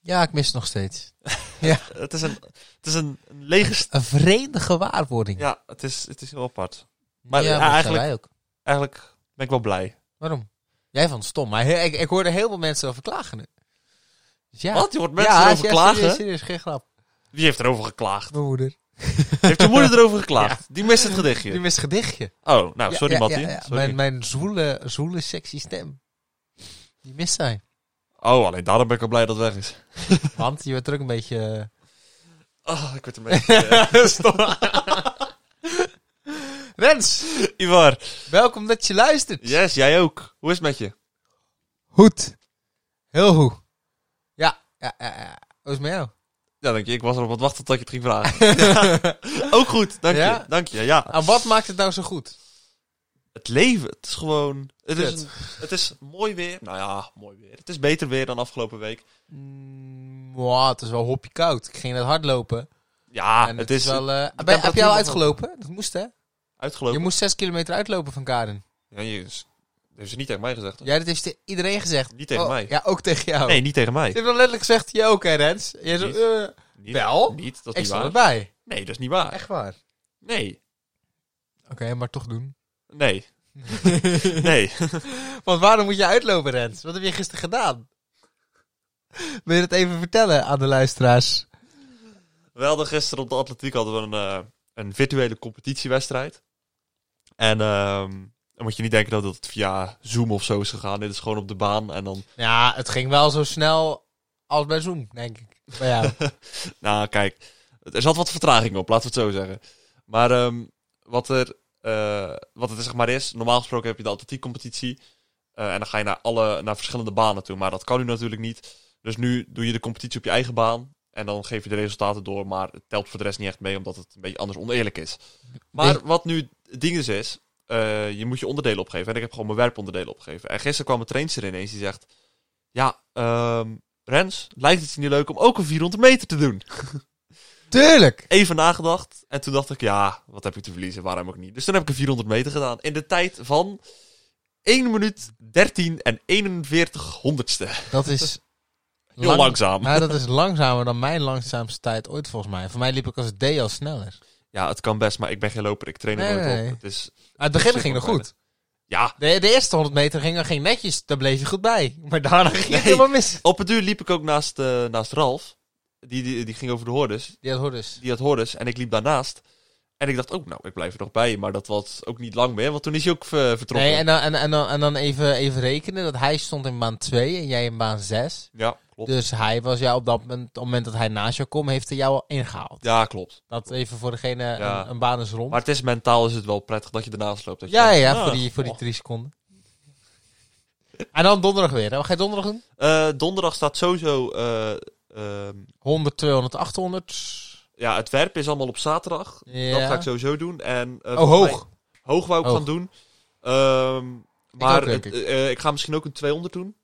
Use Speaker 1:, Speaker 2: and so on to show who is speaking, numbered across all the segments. Speaker 1: Ja, ik mis het nog steeds. ja,
Speaker 2: Het is een, het is een, een lege... st-
Speaker 1: een vreemde gewaarwording.
Speaker 2: Ja, het is, het is heel apart. Maar
Speaker 1: Ja,
Speaker 2: ja,
Speaker 1: dat zijn
Speaker 2: eigenlijk,
Speaker 1: wij ook.
Speaker 2: eigenlijk ben ik wel blij.
Speaker 1: Waarom? Jij vond het stom, maar he- ik, ik hoorde heel veel mensen over klagen. Dus ja.
Speaker 2: Wat? Je hoort mensen erover
Speaker 1: serieus,
Speaker 2: klagen?
Speaker 1: Serieus, serieus, geen grap.
Speaker 2: Wie heeft erover geklaagd?
Speaker 1: Mijn moeder.
Speaker 2: Heeft je moeder erover geklaagd? Die mist het
Speaker 1: Die
Speaker 2: gedichtje.
Speaker 1: mist het gedichtje.
Speaker 2: Oh, nou,
Speaker 1: Ja,
Speaker 2: sorry
Speaker 1: ja,
Speaker 2: Mattie.
Speaker 1: ja, ja.
Speaker 2: Sorry.
Speaker 1: Mijn, mijn zwoele, zwoele, sexy stem. Die mist zij.
Speaker 2: Oh, alleen daarom ben ik al blij dat het weg is.
Speaker 1: Want je werd er ook een beetje...
Speaker 2: Oh, ik werd een beetje... eh, stom.
Speaker 1: Rens,
Speaker 2: Ivar,
Speaker 1: welkom dat je luistert.
Speaker 2: yes, jij ook. Hoe is het met je?
Speaker 1: Goed. Heel goed. Ja, ja, ja. ja. Hoe is het met jou?
Speaker 2: Ja, dank je. Ik was erop aan het wachten tot je het ging vragen. Ja. Ook goed, dank
Speaker 1: Ja?
Speaker 2: je. Dank je, ja.
Speaker 1: Aan wat maakt het nou zo goed?
Speaker 2: Het leven, het is gewoon... Het is,
Speaker 1: Kut.
Speaker 2: een- het is mooi weer. Nou ja, mooi weer. Het is beter weer dan afgelopen week.
Speaker 1: Mm, wow, het is wel hopje koud. Ik ging net hardlopen.
Speaker 2: Ja,
Speaker 1: en
Speaker 2: Ah, het is
Speaker 1: wel, eh, ben- heb
Speaker 2: temperatuur
Speaker 1: jij al
Speaker 2: was
Speaker 1: uitgelopen? Dat moest hè? Je
Speaker 2: uitgelopen.
Speaker 1: moest 6 kilometer uitlopen van Karen.
Speaker 2: Ja, jezus. Dat heeft ze niet tegen mij gezegd. hè?
Speaker 1: Ja, dat heeft te- iedereen gezegd.
Speaker 2: Niet tegen
Speaker 1: Oh,
Speaker 2: mij.
Speaker 1: Ja, ook tegen jou.
Speaker 2: Nee, niet tegen
Speaker 1: Ze
Speaker 2: mij.
Speaker 1: hebben dan letterlijk gezegd, jij ook hè Rens? Jij zo,
Speaker 2: Niet.
Speaker 1: eh,
Speaker 2: Niet,
Speaker 1: Wel?
Speaker 2: Niet, dat is
Speaker 1: ik
Speaker 2: niet
Speaker 1: sta
Speaker 2: waar.
Speaker 1: erbij.
Speaker 2: Nee, dat is niet waar.
Speaker 1: Echt waar.
Speaker 2: Nee.
Speaker 1: Oké, maar toch doen.
Speaker 2: Nee. nee.
Speaker 1: Want waarom moet je uitlopen Rens? Wat heb je gisteren gedaan? Wil je dat even vertellen aan de luisteraars?
Speaker 2: We hadden gisteren op de atletiek hadden we een, eh, een virtuele competitiewedstrijd. En ehm, dan moet je niet denken dat het via Zoom of zo is gegaan. Dit is gewoon op de baan. En dan,
Speaker 1: Ja, het ging wel zo snel als bij Zoom, denk ik. Bij jou.
Speaker 2: nou kijk, er zat wat vertraging op, laten we het zo zeggen. Maar ehm, wat, er, eh, wat het zeg maar is, normaal gesproken heb je de atletiekcompetitie. eh, en dan ga je naar, alle, naar verschillende banen toe. Maar dat kan nu natuurlijk niet. Dus nu doe je de competitie op je eigen baan. En dan geef je de resultaten door. Maar het telt voor de rest niet echt mee, omdat het een beetje anders oneerlijk is. Maar wat nu het ding dus is, eh, je moet je onderdelen opgeven. En ik heb gewoon mijn werponderdelen opgegeven. En gisteren kwam een trainster ineens die zegt... Ja, ehm, Rens, lijkt het je niet leuk om ook een 400 meter te doen?
Speaker 1: Tuurlijk!
Speaker 2: Even nagedacht. En toen dacht ik, ja, wat heb ik te verliezen? Waarom ook niet? Dus toen heb ik een 400 meter gedaan. In de tijd van 1 minuut 13 en 41 honderdste.
Speaker 1: Dat is...
Speaker 2: Heel langzaam.
Speaker 1: Nou, dat is langzamer dan mijn langzaamste tijd ooit, volgens mij. Voor mij liep ik als D al sneller.
Speaker 2: Ja, het kan best, maar ik ben geen loper. Ik train er
Speaker 1: Nee,
Speaker 2: nooit
Speaker 1: nee.
Speaker 2: op. Het is,
Speaker 1: Maar het begin ging nog goed.
Speaker 2: ja,
Speaker 1: De, de eerste 100 meter ging, ging netjes, daar bleef je goed bij. Maar daarna ging het
Speaker 2: Nee.
Speaker 1: helemaal mis.
Speaker 2: op het duur liep ik ook naast, eh, naast Ralf. Die, die, die ging over de hordes.
Speaker 1: Ja, dat hoort dus.
Speaker 2: die had hordes en ik liep daarnaast. En ik dacht ook, nou, ik blijf er nog bij. Maar dat was ook niet lang meer, want toen is hij ook eh, vertrokken.
Speaker 1: Nee, en dan, en, en dan, en dan even, even rekenen dat hij stond in baan 2 en jij in baan 6.
Speaker 2: Ja, klopt.
Speaker 1: Dus hij was jou op dat moment, op het moment dat hij naast jou kwam, heeft hij jou al ingehaald.
Speaker 2: Ja, klopt.
Speaker 1: Dat even voor degene,
Speaker 2: Ja.
Speaker 1: een, een baan is rond.
Speaker 2: Maar het is mentaal is het wel prettig dat je ernaast loopt. Dat je
Speaker 1: Ja,
Speaker 2: denkt,
Speaker 1: ja,
Speaker 2: ah,
Speaker 1: voor die, voor die
Speaker 2: oh.
Speaker 1: drie seconden. En dan donderdag weer. Hè? Wat ga je donderdag doen?
Speaker 2: Eh, donderdag staat sowieso... eh, ehm,
Speaker 1: 100, 200, 800.
Speaker 2: ja, het werpen is allemaal op zaterdag. Dat
Speaker 1: Ja.
Speaker 2: ga ik sowieso doen. En, eh,
Speaker 1: oh,
Speaker 2: volgens
Speaker 1: hoog.
Speaker 2: mij- hoog wou ik
Speaker 1: Hoog.
Speaker 2: gaan doen. Ehm, maar
Speaker 1: ook, denk
Speaker 2: het- eh, ik ga misschien ook een 200 doen.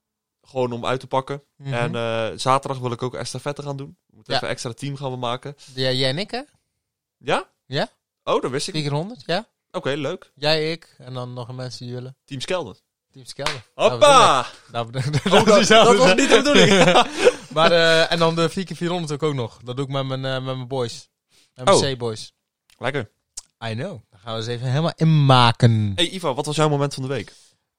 Speaker 2: Gewoon om uit te pakken.
Speaker 1: Mhm.
Speaker 2: En eh, zaterdag wil ik ook estafette gaan doen. We moeten
Speaker 1: Ja.
Speaker 2: even een extra team gaan we maken.
Speaker 1: ja, jij en ik, hè?
Speaker 2: Ja?
Speaker 1: Ja.
Speaker 2: Oh, dat wist ik.
Speaker 1: Drie keer 100, ja?
Speaker 2: Oké, leuk.
Speaker 1: Jij, ik en dan nog een mensen die willen.
Speaker 2: Team Skelden.
Speaker 1: Team Skelder.
Speaker 2: Hoppa!
Speaker 1: Nou, we doen het.
Speaker 2: Oh,
Speaker 1: Nou, we-
Speaker 2: dat, dat was niet de bedoeling.
Speaker 1: maar, eh, en dan de 4 keer 400 ook, ook nog. Dat doe ik met mijn, eh, met mijn boys. Met mijn
Speaker 2: Oh.
Speaker 1: C-boys.
Speaker 2: Lekker.
Speaker 1: I know. Daar gaan we eens even helemaal in maken.
Speaker 2: Hey Iva, wat was jouw moment van de week?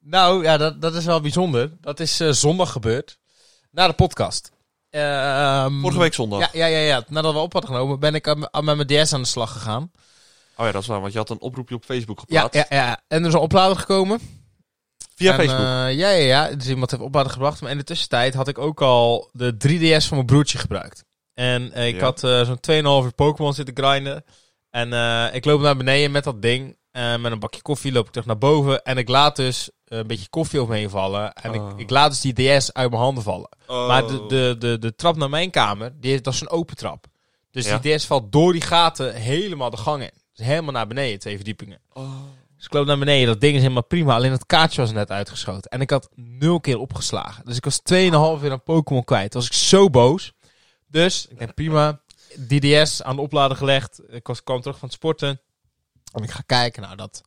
Speaker 1: Nou ja, dat, dat is wel bijzonder. Dat is eh, zondag gebeurd. Na de podcast. Ehm,
Speaker 2: Vorige week zondag.
Speaker 1: Ja, ja, ja, ja. Nadat we op hadden genomen, ben ik aan- aan- met mijn DS aan de slag gegaan.
Speaker 2: Oh ja, dat is waar, want je had een oproepje op Facebook
Speaker 1: Ja,
Speaker 2: geplaatst.
Speaker 1: ja, ja. En er is een oplader gekomen.
Speaker 2: Via
Speaker 1: En,
Speaker 2: Facebook.
Speaker 1: eh, ja, ja, ja. Dus iemand heeft oplader gebracht. Maar in de tussentijd had ik ook al de 3DS van mijn broertje gebruikt. En eh, ik
Speaker 2: Ja.
Speaker 1: had eh, zo'n 2,5 uur Pokémon zitten grinden. En eh, ik loop naar beneden met dat ding. En met een bakje koffie loop ik terug naar boven. En ik laat dus eh, een beetje koffie over me heen vallen. En
Speaker 2: Oh.
Speaker 1: ik, ik laat dus die DS uit mijn handen vallen.
Speaker 2: Oh.
Speaker 1: eh, Maar de, de, de, de trap naar mijn kamer, die is, dat is een open trap. Dus
Speaker 2: Ja.
Speaker 1: die DS valt door die gaten helemaal de gang in. Dus helemaal naar beneden, twee verdiepingen.
Speaker 2: Oh.
Speaker 1: Dus ik loop naar beneden, dat ding is helemaal prima. Alleen dat kaartje was net uitgeschoten. En ik had nul keer opgeslagen. Dus ik was 2,5 uur aan Pokémon kwijt. Toen was ik zo boos. Dus, ik denk prima, DDS aan de oplader gelegd. Ik was, kwam terug van het sporten. En ik ga kijken, nou dat...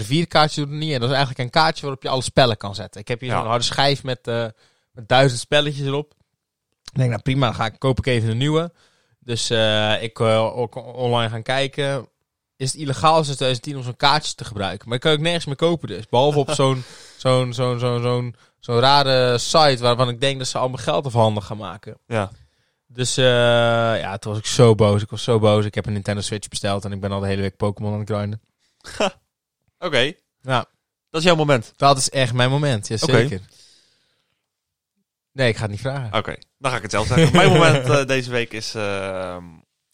Speaker 1: R4-kaartje doet het niet. En dat is eigenlijk een kaartje waarop je alle spellen kan zetten. Ik heb hier
Speaker 2: Ja.
Speaker 1: zo'n harde schijf met, eh, met duizend spelletjes erop. Ik denk, nou prima, dan ga ik, koop ik even een nieuwe. Dus eh, ik eh, ook online gaan kijken. Is het illegaal sinds 2010 om zo'n kaartje te gebruiken? Maar ik kan ook nergens meer kopen dus. Behalve op zo'n zo'n zo'n zo'n zo'n zo'n rare site waarvan ik denk dat ze allemaal geld afhandig gaan maken.
Speaker 2: Ja.
Speaker 1: Dus eh, ja, toen was ik zo boos. Ik was zo boos. Ik heb een Nintendo Switch besteld en ik ben al de hele week Pokémon aan het grinden.
Speaker 2: Oké,
Speaker 1: Ja,
Speaker 2: dat is jouw moment.
Speaker 1: dat is echt mijn moment.
Speaker 2: Oké.
Speaker 1: Jazeker. Nee, ik ga het niet vragen.
Speaker 2: Oké, dan ga ik het zelf zeggen. mijn moment eh, deze week is eh,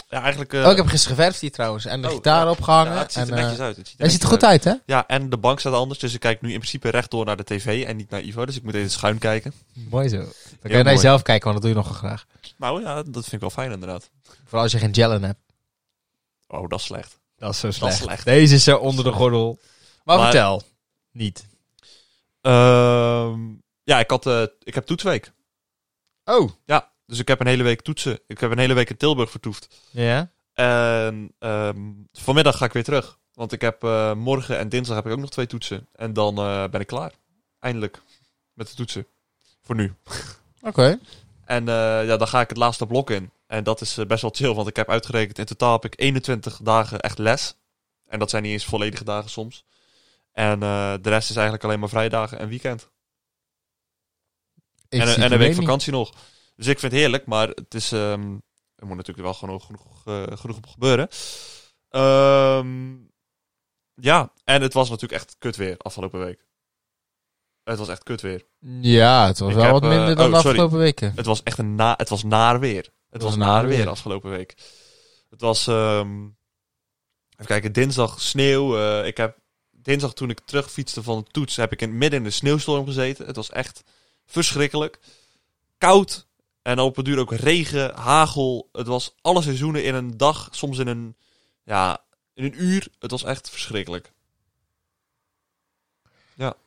Speaker 2: ja, eigenlijk... eh,
Speaker 1: Oh, ik heb gisteren geverfd hier trouwens. En de
Speaker 2: Oh,
Speaker 1: gitaar
Speaker 2: ja.
Speaker 1: opgehangen.
Speaker 2: ja, het ziet
Speaker 1: en,
Speaker 2: er
Speaker 1: eh,
Speaker 2: netjes uit. Het ziet er,
Speaker 1: hij ziet er
Speaker 2: netjes
Speaker 1: goed uit, hè?
Speaker 2: Ja, en de bank staat anders, dus ik kijk nu in principe rechtdoor naar de tv en niet naar Ivo. Dus ik moet even schuin kijken.
Speaker 1: Mooi zo. Dan kun je
Speaker 2: mooi.
Speaker 1: naar jezelf kijken, want dat doe je nogal graag.
Speaker 2: Nou ja, dat vind ik wel fijn inderdaad.
Speaker 1: Vooral als je geen gel in hebt.
Speaker 2: Oh, dat is slecht.
Speaker 1: Dat is zo
Speaker 2: Dat is
Speaker 1: slecht.
Speaker 2: slecht.
Speaker 1: Deze is zo onder de gordel. Maar,
Speaker 2: Maar-
Speaker 1: vertel. Niet.
Speaker 2: Ehm, ja, ik, had, eh, ik heb toetsweek.
Speaker 1: Oh.
Speaker 2: Ja, dus ik heb een hele week toetsen. Ik heb een hele week in Tilburg vertoefd.
Speaker 1: Ja?
Speaker 2: En ehm, vanmiddag ga ik weer terug. Want ik heb eh, morgen en dinsdag heb ik ook nog twee toetsen. En dan eh, ben ik klaar. Eindelijk. Met de toetsen. Voor nu.
Speaker 1: Oké.
Speaker 2: En eh, ja, dan ga ik het laatste blok in. En dat is eh, best wel chill, want ik heb uitgerekend, in totaal heb ik 21 dagen echt les. En dat zijn niet eens volledige dagen soms. En eh, de rest is eigenlijk alleen maar vrijdagen en weekend.
Speaker 1: Ik
Speaker 2: en
Speaker 1: zie
Speaker 2: en een
Speaker 1: het
Speaker 2: week
Speaker 1: probleem niet.
Speaker 2: vakantie nog. Dus ik vind het heerlijk, maar het is, ehm, er moet natuurlijk wel gewoon genoeg, eh, genoeg op gebeuren. Ehm, ja, en het was natuurlijk echt kut weer afgelopen week. Het was echt kut weer.
Speaker 1: Ja, het was
Speaker 2: Ik
Speaker 1: wel
Speaker 2: heb,
Speaker 1: wat
Speaker 2: eh,
Speaker 1: minder dan
Speaker 2: oh,
Speaker 1: de
Speaker 2: sorry.
Speaker 1: afgelopen weken.
Speaker 2: Het was echt een na, het was naar weer. Het, was, naar weer. afgelopen week. Het was, ehm, even kijken, dinsdag sneeuw. Eh, ik heb dinsdag toen ik terugfietste van de toets, heb ik in, midden in de sneeuwstorm gezeten. Het was echt verschrikkelijk. Koud en op het duur ook regen, hagel. Het was alle seizoenen in een dag, soms in een, ja, in een uur. Het was echt verschrikkelijk.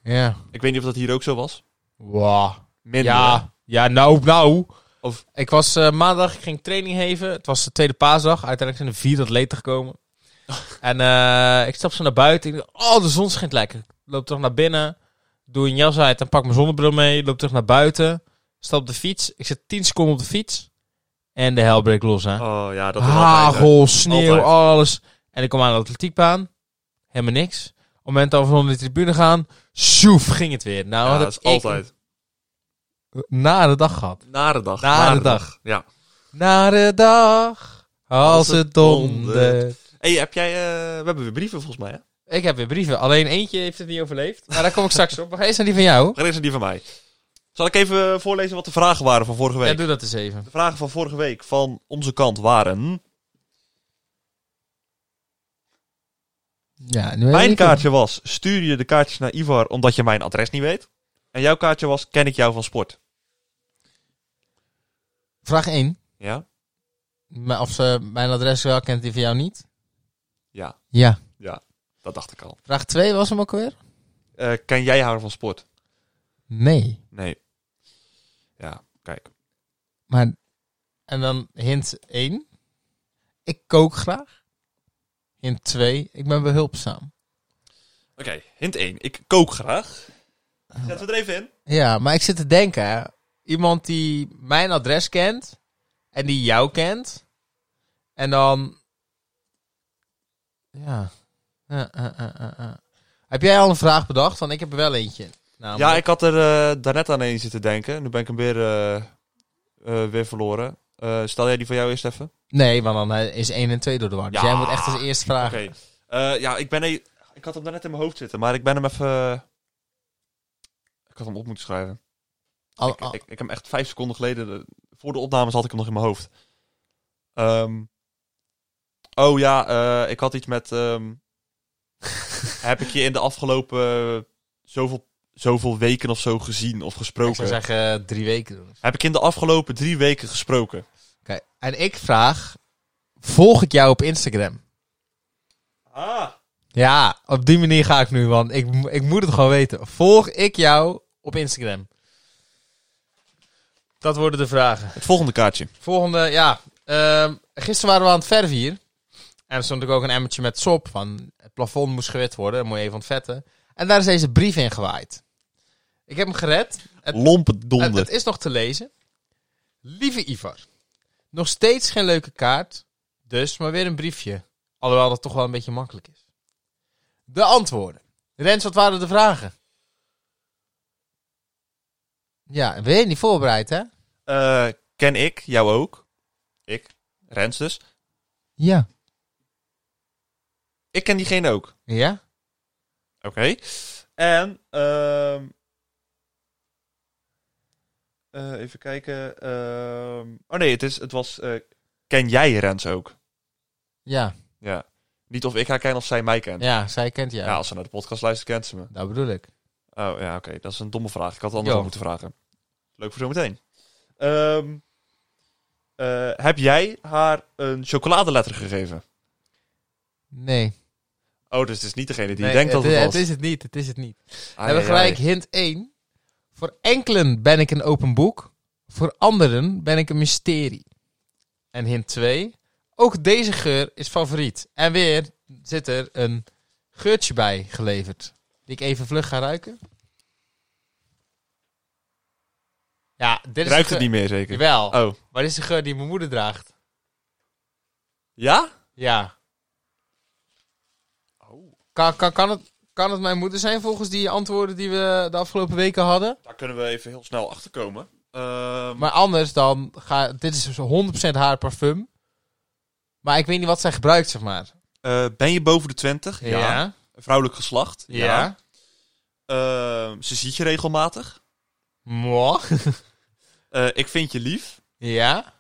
Speaker 1: Ja.
Speaker 2: Ik weet niet of dat hier ook zo was.
Speaker 1: Wow.
Speaker 2: Minder. hè?
Speaker 1: Ja, ja, nou, nou.
Speaker 2: eh, Of-
Speaker 1: Ik was eh, maandag, ik ging training geven. Het was de tweede paasdag. Uiteindelijk zijn er vier atleten gekomen. en eh, ik stap zo naar buiten. Ik denk, oh, de zon schijnt lekker. Ik Loop terug naar binnen. Doe een jas uit en pak mijn zonnebril mee. Loop terug naar buiten. Stap op de fiets. Ik zit 10 seconden op de fiets. En de hel breekt los, hè.
Speaker 2: Oh ja, dat is altijd, hè.
Speaker 1: Hagel, sneeuw,
Speaker 2: Altijd.
Speaker 1: alles. En ik kom aan de atletiekbaan. Helemaal niks. Op het moment dat we onder de tribune gaan, sjoef, ging het weer. Nou,
Speaker 2: Ja,
Speaker 1: wat
Speaker 2: dat
Speaker 1: heb
Speaker 2: is
Speaker 1: ik
Speaker 2: altijd.
Speaker 1: een nare dag gehad.
Speaker 2: Nare dag.
Speaker 1: Nare
Speaker 2: nare
Speaker 1: dag.
Speaker 2: Ja.
Speaker 1: Nare dag, als
Speaker 2: Als
Speaker 1: het
Speaker 2: het
Speaker 1: dondert.
Speaker 2: Hey, heb jij, eh, we hebben weer brieven volgens mij, hè?
Speaker 1: Ik heb weer brieven. Alleen eentje heeft het niet overleefd. Maar daar kom ik straks op. Maar eerst naar die van jou.
Speaker 2: Geen is die van mij. Zal ik even eh, voorlezen wat de vragen waren van vorige
Speaker 1: Ja,
Speaker 2: week?
Speaker 1: doe dat eens even.
Speaker 2: De vragen van vorige week van onze kant waren...
Speaker 1: Ja, nu
Speaker 2: Mijn kaartje was, stuur je de kaartjes naar Ivar omdat je mijn adres niet weet? En jouw kaartje was, ken ik jou van sport?
Speaker 1: Vraag 1.
Speaker 2: Ja?
Speaker 1: Of ze mijn adres wel kent, die van jou niet?
Speaker 2: Ja,
Speaker 1: Ja.
Speaker 2: dat dacht ik al.
Speaker 1: Vraag 2 was hem ook alweer?
Speaker 2: Eh, ken jij haar van sport?
Speaker 1: Nee.
Speaker 2: Nee. Ja, kijk.
Speaker 1: Maar... En dan hint 1. Ik kook graag. Hint 2. Ik ben behulpzaam.
Speaker 2: Oké, hint 1. Ik kook graag. Zetten we er even in?
Speaker 1: Ja, maar ik zit te denken. hè. Iemand die mijn adres kent en die jou kent. En dan. Ja. Eh, eh, eh, eh, eh. Heb jij al een vraag bedacht? Want ik heb er wel eentje.
Speaker 2: Ja,
Speaker 1: Namelijk.
Speaker 2: ik had er eh, daarnet aan één zitten denken. Nu ben ik hem weer, eh, eh, weer verloren. Eh, stel jij die van jou eerst even?
Speaker 1: Nee, want dan eh, is 1 en 2 door de war. Dus
Speaker 2: Ja.
Speaker 1: jij moet echt als eerste
Speaker 2: Oké.
Speaker 1: vragen.
Speaker 2: Eh, ja, ik ben... e- Ik had hem daarnet in mijn hoofd zitten, maar ik ben hem even... eh, Ik had hem op moeten schrijven.
Speaker 1: Al-
Speaker 2: Ik,
Speaker 1: al-
Speaker 2: ik, ik heb hem echt vijf seconden geleden... de- voor de opnames had ik hem nog in mijn hoofd. Ehm, oh ja, eh, ik had iets met... ehm, heb ik je in de afgelopen eh, zoveel, zoveel weken of zo gezien of
Speaker 1: ik zou
Speaker 2: gesproken?
Speaker 1: zeggen eh, drie weken doen.
Speaker 2: Heb ik in de afgelopen drie weken gesproken?
Speaker 1: Oké. En ik vraag: volg ik jou op Instagram?
Speaker 2: Ah.
Speaker 1: Ja, op die manier ga ik nu, want ik, mo- ik moet het gewoon weten. Volg ik jou op Instagram? Dat worden de vragen.
Speaker 2: Het volgende kaartje.
Speaker 1: Volgende, ja. ehm, gisteren waren we aan het verven hier. En er stond natuurlijk ook een emmertje met sop van het plafond moest gewit worden, dan moet je even ontvetten. En daar is deze brief in gewaaid. Ik heb hem gered. Het,
Speaker 2: Lompe
Speaker 1: het,
Speaker 2: donder.
Speaker 1: Eh, het is nog te lezen. Lieve Ivar, nog steeds geen leuke kaart, dus maar weer een briefje. Alhoewel dat toch wel een beetje makkelijk is. De antwoorden. Rens, wat waren de vragen? Ja, ben je niet voorbereid, hè?
Speaker 2: Eh, ken ik, jou ook. Ik, Rens dus.
Speaker 1: Ja.
Speaker 2: Ik ken diegene ook.
Speaker 1: Ja?
Speaker 2: Oké. En, ehm, eh, even kijken. ehm, oh nee, het, is, het was, eh, ken jij Rens ook?
Speaker 1: Ja.
Speaker 2: Ja. Niet of ik haar ken of zij mij kent. Ja,
Speaker 1: Ja, zij kent jou.
Speaker 2: als ze naar de podcast luistert, kent ze me.
Speaker 1: Dat bedoel ik.
Speaker 2: Oh ja, oké. Dat is een domme vraag. Ik had het anders
Speaker 1: Jo.
Speaker 2: al moeten vragen. Leuk voor zometeen. Ehm eh, heb jij haar een chocoladeletter gegeven?
Speaker 1: Nee.
Speaker 2: Oh, dus het is niet degene die
Speaker 1: Nee,
Speaker 2: denkt dat het, was.
Speaker 1: Het is het niet, het is het niet. We
Speaker 2: Ai,
Speaker 1: hebben
Speaker 2: ai, ai.
Speaker 1: gelijk hint 1. Voor enkelen ben ik een open boek. Voor anderen ben ik een mysterie. En hint 2. Ook deze geur is favoriet. En weer zit er een geurtje bij geleverd. Die ik even vlug ga ruiken. Ja, dit is
Speaker 2: Ruikt
Speaker 1: de
Speaker 2: het
Speaker 1: geur-
Speaker 2: niet meer zeker?
Speaker 1: Jawel.
Speaker 2: Oh.
Speaker 1: Maar dit is de geur die mijn moeder draagt.
Speaker 2: Ja?
Speaker 1: Ja.
Speaker 2: Oh.
Speaker 1: Kan, kan, kan, het, kan het mijn moeder zijn volgens die antwoorden die we de afgelopen weken hadden?
Speaker 2: Daar kunnen we even heel snel achter komen. Ehm,
Speaker 1: Maar anders dan, ga, dit is dus 100% haar parfum. Maar ik weet niet wat zij gebruikt, zeg maar.
Speaker 2: eh, ben je boven de 20?
Speaker 1: Ja.
Speaker 2: Vrouwelijk geslacht?
Speaker 1: Ja.
Speaker 2: Ehm, ze ziet je regelmatig.
Speaker 1: Mwah.
Speaker 2: Eh, ik vind je lief.
Speaker 1: Ja.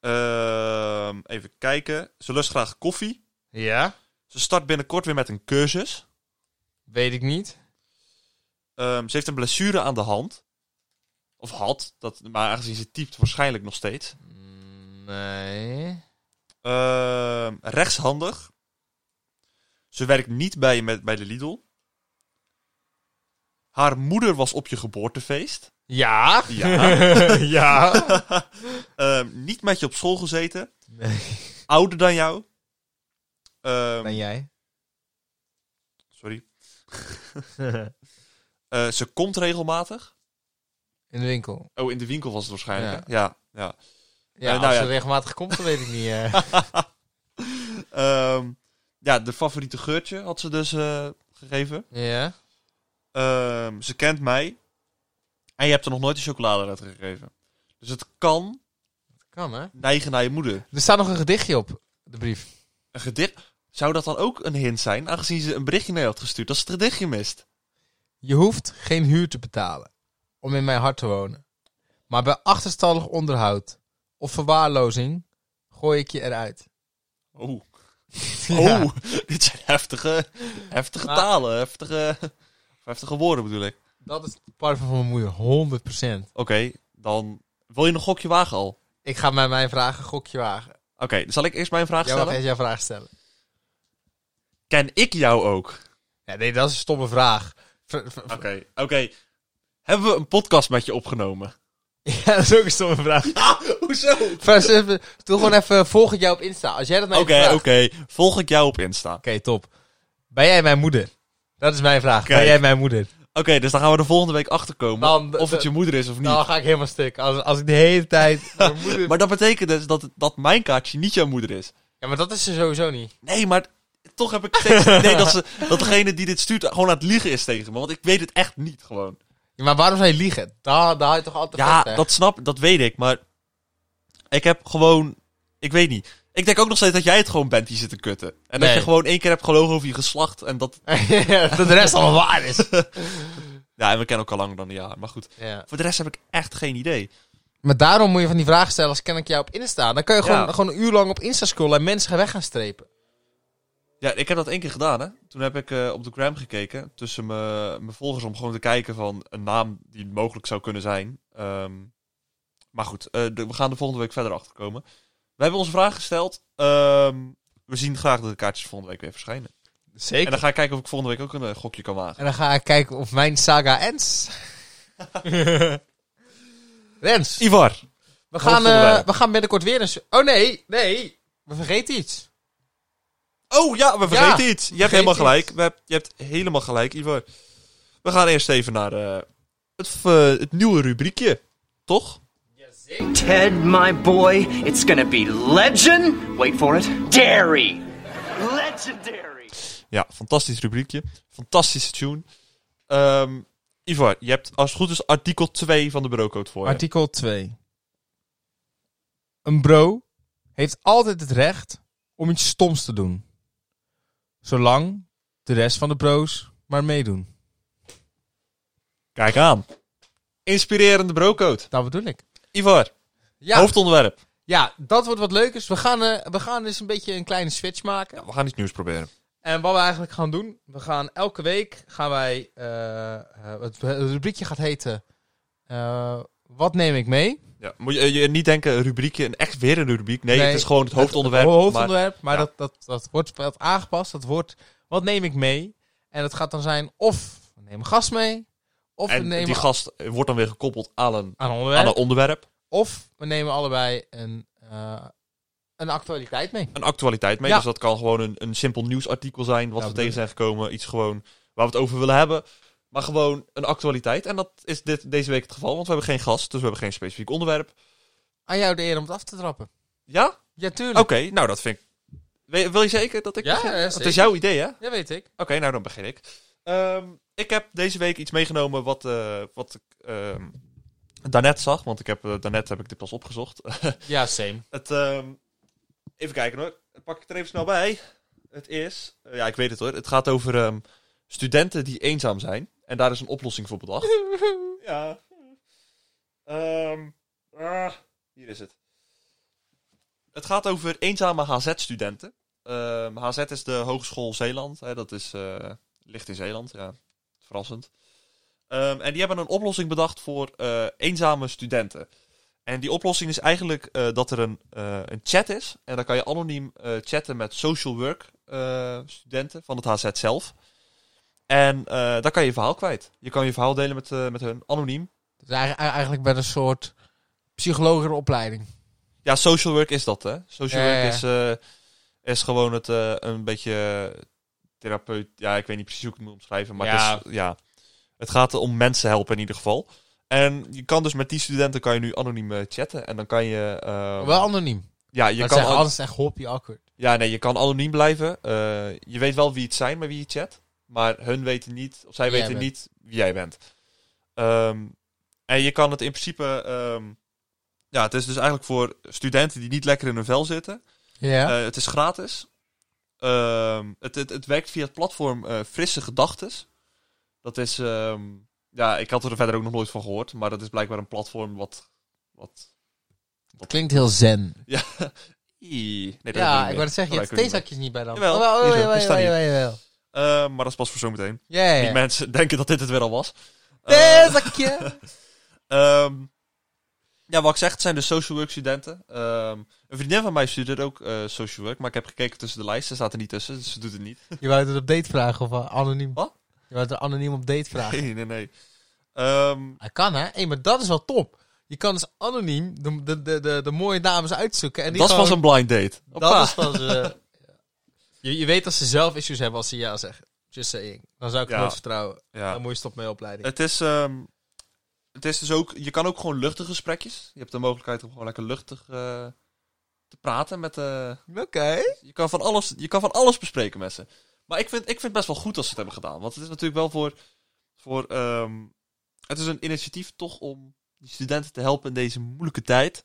Speaker 2: Ehm, even kijken. Ze lust graag koffie.
Speaker 1: Ja.
Speaker 2: Ze start binnenkort weer met een cursus.
Speaker 1: Weet ik niet.
Speaker 2: Ehm, ze heeft een blessure aan de hand. Of had. Dat, maar aangezien ze typt, waarschijnlijk nog steeds.
Speaker 1: Nee.
Speaker 2: Ehm, rechtshandig. Ze werkt niet bij je met, bij de Lidl. Haar moeder was op je geboortefeest.
Speaker 1: Ja.
Speaker 2: Ja.
Speaker 1: ja.
Speaker 2: Ehm, niet met je op school gezeten.
Speaker 1: Nee.
Speaker 2: Ouder dan jou. Ehm,
Speaker 1: Ben jij?
Speaker 2: Sorry. Eh, ze komt regelmatig.
Speaker 1: In de winkel.
Speaker 2: Oh, in de winkel was het waarschijnlijk. hè? Ja. ja,
Speaker 1: Ja,
Speaker 2: Eh, nou
Speaker 1: als ze
Speaker 2: ja.
Speaker 1: regelmatig komt, dan weet ik niet. eh.
Speaker 2: Ehm, ja, de favoriete geurtje had ze dus eh, gegeven.
Speaker 1: ja.
Speaker 2: Ehm, ze kent mij. En je hebt er nog nooit een chocoladeletter gegeven. Dus het kan
Speaker 1: Kan, hè?
Speaker 2: neigen naar je moeder.
Speaker 1: Er staat nog een gedichtje op de brief.
Speaker 2: Een gedicht. Zou dat dan ook een hint zijn? Aangezien ze een berichtje mee had gestuurd. Dat ze het gedichtje mist.
Speaker 1: Je hoeft geen huur te betalen om in mijn hart te wonen. Maar bij achterstallig onderhoud of verwaarlozing gooi ik je eruit.
Speaker 2: Oh,
Speaker 1: Ja. Nou.
Speaker 2: oh. dit zijn heftige, heftige
Speaker 1: Maar-
Speaker 2: talen. Heftige, of heftige woorden bedoel ik.
Speaker 1: Dat is het parfum van mijn moeder, 100%.
Speaker 2: Oké, dan wil je nog gokje wagen al. Oké,
Speaker 1: Ik ga met mijn vragen gokje wagen.
Speaker 2: dan zal ik eerst mijn vraag
Speaker 1: Jij mag
Speaker 2: stellen.
Speaker 1: eerst jouw vraag stellen.
Speaker 2: Ken ik jou ook?
Speaker 1: Ja, nee, dat is een stomme vraag. Ver- ver-
Speaker 2: Oké, oké. Hebben we een podcast met je opgenomen?
Speaker 1: Ja, dat is ook een stomme vraag.
Speaker 2: Hoezo? Oké,
Speaker 1: Vers- even- Doe gewoon even, volg ik jou op Insta. Als jij dat mij
Speaker 2: oké.
Speaker 1: vraagt. Oké,
Speaker 2: Volg ik jou op Insta. Oké,
Speaker 1: top. Ben jij mijn moeder? Dat is mijn vraag. Ben
Speaker 2: Kijk.
Speaker 1: jij mijn moeder?
Speaker 2: dus dan gaan we de volgende week achterkomen
Speaker 1: Dan de-
Speaker 2: of het
Speaker 1: de-
Speaker 2: je moeder is of niet.
Speaker 1: Dan ga ik helemaal stuk. Als, als ik de hele tijd... mijn moeder-
Speaker 2: Maar dat betekent dus dat, dat mijn kaartje niet jouw moeder is.
Speaker 1: Ja, maar dat is ze sowieso niet.
Speaker 2: Nee, maar toch heb ik steeds het idee dat, ze, dat degene die dit stuurt gewoon aan het liegen is tegen me. Want ik weet het echt niet gewoon.
Speaker 1: Ja, maar waarom zou je liegen? Daar, daar hou je toch altijd
Speaker 2: Ja,
Speaker 1: vast, hè?
Speaker 2: dat snap, dat weet ik. Maar ik heb gewoon... Ik weet niet. Ik denk ook nog steeds dat jij het gewoon bent die zit te kutten. En dat
Speaker 1: Nee.
Speaker 2: je gewoon één keer hebt gelogen over je geslacht. En dat
Speaker 1: dat de rest allemaal waar is.
Speaker 2: Ja, en we kennen elkaar langer dan een jaar. Maar goed,
Speaker 1: Ja.
Speaker 2: voor de rest heb ik echt geen idee.
Speaker 1: Maar daarom moet je van die vraag stellen als ken ik jou op Insta. Dan kan je gewoon,
Speaker 2: Ja.
Speaker 1: gewoon een uur lang op Insta scrollen en mensen gaan weg gaan strepen.
Speaker 2: Ja, ik heb dat één keer gedaan, hè. Toen heb ik eh, op de gram gekeken tussen mijn mijn volgers om gewoon te kijken van een naam die mogelijk zou kunnen zijn. Ehm, maar goed, eh, de- we gaan er volgende week verder achter komen. We hebben onze vraag gesteld. Ehm, we zien graag dat de kaartjes volgende week weer verschijnen.
Speaker 1: Zeker.
Speaker 2: En dan ga ik kijken of ik volgende week ook een eh, gokje kan wagen.
Speaker 1: ga ik kijken of mijn saga ends. Rens,
Speaker 2: Eh, Ivar,
Speaker 1: we
Speaker 2: Wat
Speaker 1: gaan,
Speaker 2: vonden
Speaker 1: eh,
Speaker 2: wij?
Speaker 1: we gaan binnenkort weer een... s- Oh nee, nee, we vergeten iets.
Speaker 2: Oh ja, we vergeten
Speaker 1: Ja,
Speaker 2: iets. Je
Speaker 1: vergeet
Speaker 2: hebt helemaal
Speaker 1: iets.
Speaker 2: gelijk. We heb- je hebt helemaal gelijk, Ivar. We gaan eerst even naar eh, het, eh, het nieuwe rubriekje. Toch?
Speaker 3: Ted, my boy, it's gonna be legend. Wait for it. Dairy. Legendary.
Speaker 2: Ja, fantastisch rubriekje. Fantastische tune. Ehm, Ivar, je hebt als het goed is artikel 2 van de brocode voor je.
Speaker 1: Artikel 2. Een bro heeft altijd het recht om iets stoms te doen. Zolang de rest van de bro's maar meedoen.
Speaker 2: Kijk aan. Inspirerende brocode.
Speaker 1: Dat Nou, bedoel ik.
Speaker 2: Ivar,
Speaker 1: Ja,
Speaker 2: hoofdonderwerp.
Speaker 1: ja dat wordt wat leukers. We gaan, eh, we gaan dus een beetje een kleine switch maken.
Speaker 2: We gaan iets nieuws proberen.
Speaker 1: En wat we eigenlijk gaan doen, we gaan elke week gaan wij. eh, eh, het, het rubriekje gaat heten. eh, wat neem ik mee?
Speaker 2: Ja, moet je, je niet denken, een rubriekje, een echt weer een rubriek. Nee,
Speaker 1: Nee,
Speaker 2: het is gewoon het hoofdonderwerp.
Speaker 1: Het hoofdonderwerp, maar,
Speaker 2: ja.
Speaker 1: dat, dat, dat wordt wat aangepast. Dat wordt wat neem ik mee? En dat gaat dan zijn of we nemen gast mee, of
Speaker 2: maar-
Speaker 1: we
Speaker 2: en
Speaker 1: nemen
Speaker 2: die gast wordt dan weer gekoppeld aan een,
Speaker 1: aan een onderwerp,
Speaker 2: aan een onderwerp.
Speaker 1: of we nemen allebei een, eh, een actualiteit mee.
Speaker 2: Een actualiteit mee.
Speaker 1: Ja.
Speaker 2: Dus dat kan gewoon een, een simpel nieuwsartikel zijn. Wat
Speaker 1: Ja,
Speaker 2: we
Speaker 1: bedoel
Speaker 2: tegen zijn gekomen. Iets gewoon waar we het over willen hebben. Maar gewoon een actualiteit. En dat is dit, deze week het geval. Want we hebben geen gast. Dus we hebben geen specifiek onderwerp.
Speaker 1: Aan jou de eer om het af te trappen.
Speaker 2: Ja? Oké.
Speaker 1: Ja, tuurlijk.
Speaker 2: nou, dat vind ik... Wil wil je zeker dat ik
Speaker 1: Ja,
Speaker 2: begin?
Speaker 1: ja,
Speaker 2: Dat
Speaker 1: zeker.
Speaker 2: is jouw idee, hè?
Speaker 1: Dat weet ik.
Speaker 2: Oké, nou dan begin ik. Ehm, ik heb deze week iets meegenomen wat, eh, wat ik ehm, daarnet zag. Want ik heb, eh, daarnet heb ik dit pas opgezocht.
Speaker 1: Ja, same.
Speaker 2: het, ehm, even kijken hoor. Ik Pak ik er even snel bij. Het is... eh, ja, ik weet het hoor. Het gaat over ehm, studenten die eenzaam zijn. En daar is een oplossing voor bedacht. ja. Ehm, ah, hier is het. Het gaat over eenzame HZ-studenten. Ehm, HZ is de Hogeschool Zeeland. Hè, dat is, eh, ligt in Zeeland, ja. Verrassend. Ehm, en die hebben een oplossing bedacht voor eh, eenzame studenten. En die oplossing is eigenlijk eh, dat er een, eh, een chat is. En dan kan je anoniem eh, chatten met social work eh, studenten van het HZ zelf. En eh, daar kan je je verhaal kwijt. Je kan je verhaal delen met, eh, met hun, anoniem.
Speaker 1: Dus eigenlijk, eigenlijk bij een soort psychologenopleiding.
Speaker 2: Ja, social work is dat, hè? Social
Speaker 1: Ja,
Speaker 2: work
Speaker 1: ja, ja.
Speaker 2: Is, eh, is gewoon het eh, een beetje therapeut. Ja, ik weet niet precies hoe ik het moet omschrijven, maar
Speaker 1: Ja.
Speaker 2: Het, is, ja, het gaat om mensen helpen in ieder geval. En je kan dus met die studenten kan je nu anoniem eh, chatten en dan kan je. eh,
Speaker 1: Wel anoniem.
Speaker 2: ja, je
Speaker 1: Je
Speaker 2: kan
Speaker 1: kan
Speaker 2: an-
Speaker 1: alles echt hoppie awkward.
Speaker 2: ja, nee, je kan anoniem blijven. Eh, je weet wel wie het zijn, maar wie je chat. Maar hun weten niet, of zij
Speaker 1: Wie jij
Speaker 2: weten
Speaker 1: bent.
Speaker 2: niet wie jij bent. Ehm, en je kan het in principe. ehm, ja, het is dus eigenlijk voor studenten die niet lekker in hun vel zitten.
Speaker 1: Ja.
Speaker 2: Eh, het is gratis. Ehm, het, het, het werkt via het platform eh, Frisse Gedachtes. Dat is. ehm, ja, ik had er verder ook nog nooit van gehoord. Maar dat is blijkbaar een platform wat. wat
Speaker 1: Klinkt heel zen.
Speaker 2: ja. Ii. Nee, dat werkt niet
Speaker 1: Ja, ik
Speaker 2: meer. Oh,
Speaker 1: wou het zeggen, je hebt
Speaker 2: Dat werkt ook niet meer.
Speaker 1: theezakjes niet bij dan.
Speaker 2: Jawel,
Speaker 1: Oh, oh,
Speaker 2: hier zo,
Speaker 1: jawel,
Speaker 2: die staan
Speaker 1: jawel,
Speaker 2: hier.
Speaker 1: jawel, jawel.
Speaker 2: Eh, maar dat is pas voor zometeen.
Speaker 1: Ja, ja.
Speaker 2: Die mensen denken dat dit het weer al was. Eh,
Speaker 1: Theezakje!
Speaker 2: ehm, ja, wat ik zeg, het zijn de social work studenten. Ehm, een vriendin van mij studeert ook eh, social work, maar ik heb gekeken tussen de lijsten. Ze staat er niet tussen, dus ze doet het niet.
Speaker 1: Je wou het op date vragen of eh, anoniem?
Speaker 2: Wat?
Speaker 1: Je wou het er anoniem op date vragen.
Speaker 2: Nee, nee, nee. Ehm,
Speaker 1: Hij kan hè? Hé, maar dat is wel top. Je kan dus anoniem de, de, de, de, de mooie dames uitzoeken. En die
Speaker 2: dat was
Speaker 1: gewoon,
Speaker 2: een blind date. Hoppa.
Speaker 1: Dat is van ze... Je, je weet dat ze zelf issues hebben als ze ja zeggen. Just saying. Dan zou ik het
Speaker 2: Ja.
Speaker 1: nooit vertrouwen. Dan
Speaker 2: Ja.
Speaker 1: moet je stop mee opleiding.
Speaker 2: Het is, ehm, het is dus ook, je kan ook gewoon luchtige gesprekjes. Je hebt de mogelijkheid om gewoon lekker luchtig eh, te praten met, eh,
Speaker 1: Oké.
Speaker 2: Je kan van alles, je kan van alles bespreken met ze. Maar ik vind, ik vind het best wel goed dat ze het hebben gedaan. Want het is natuurlijk wel voor. voor ehm, het is een initiatief toch om die studenten te helpen in deze moeilijke tijd.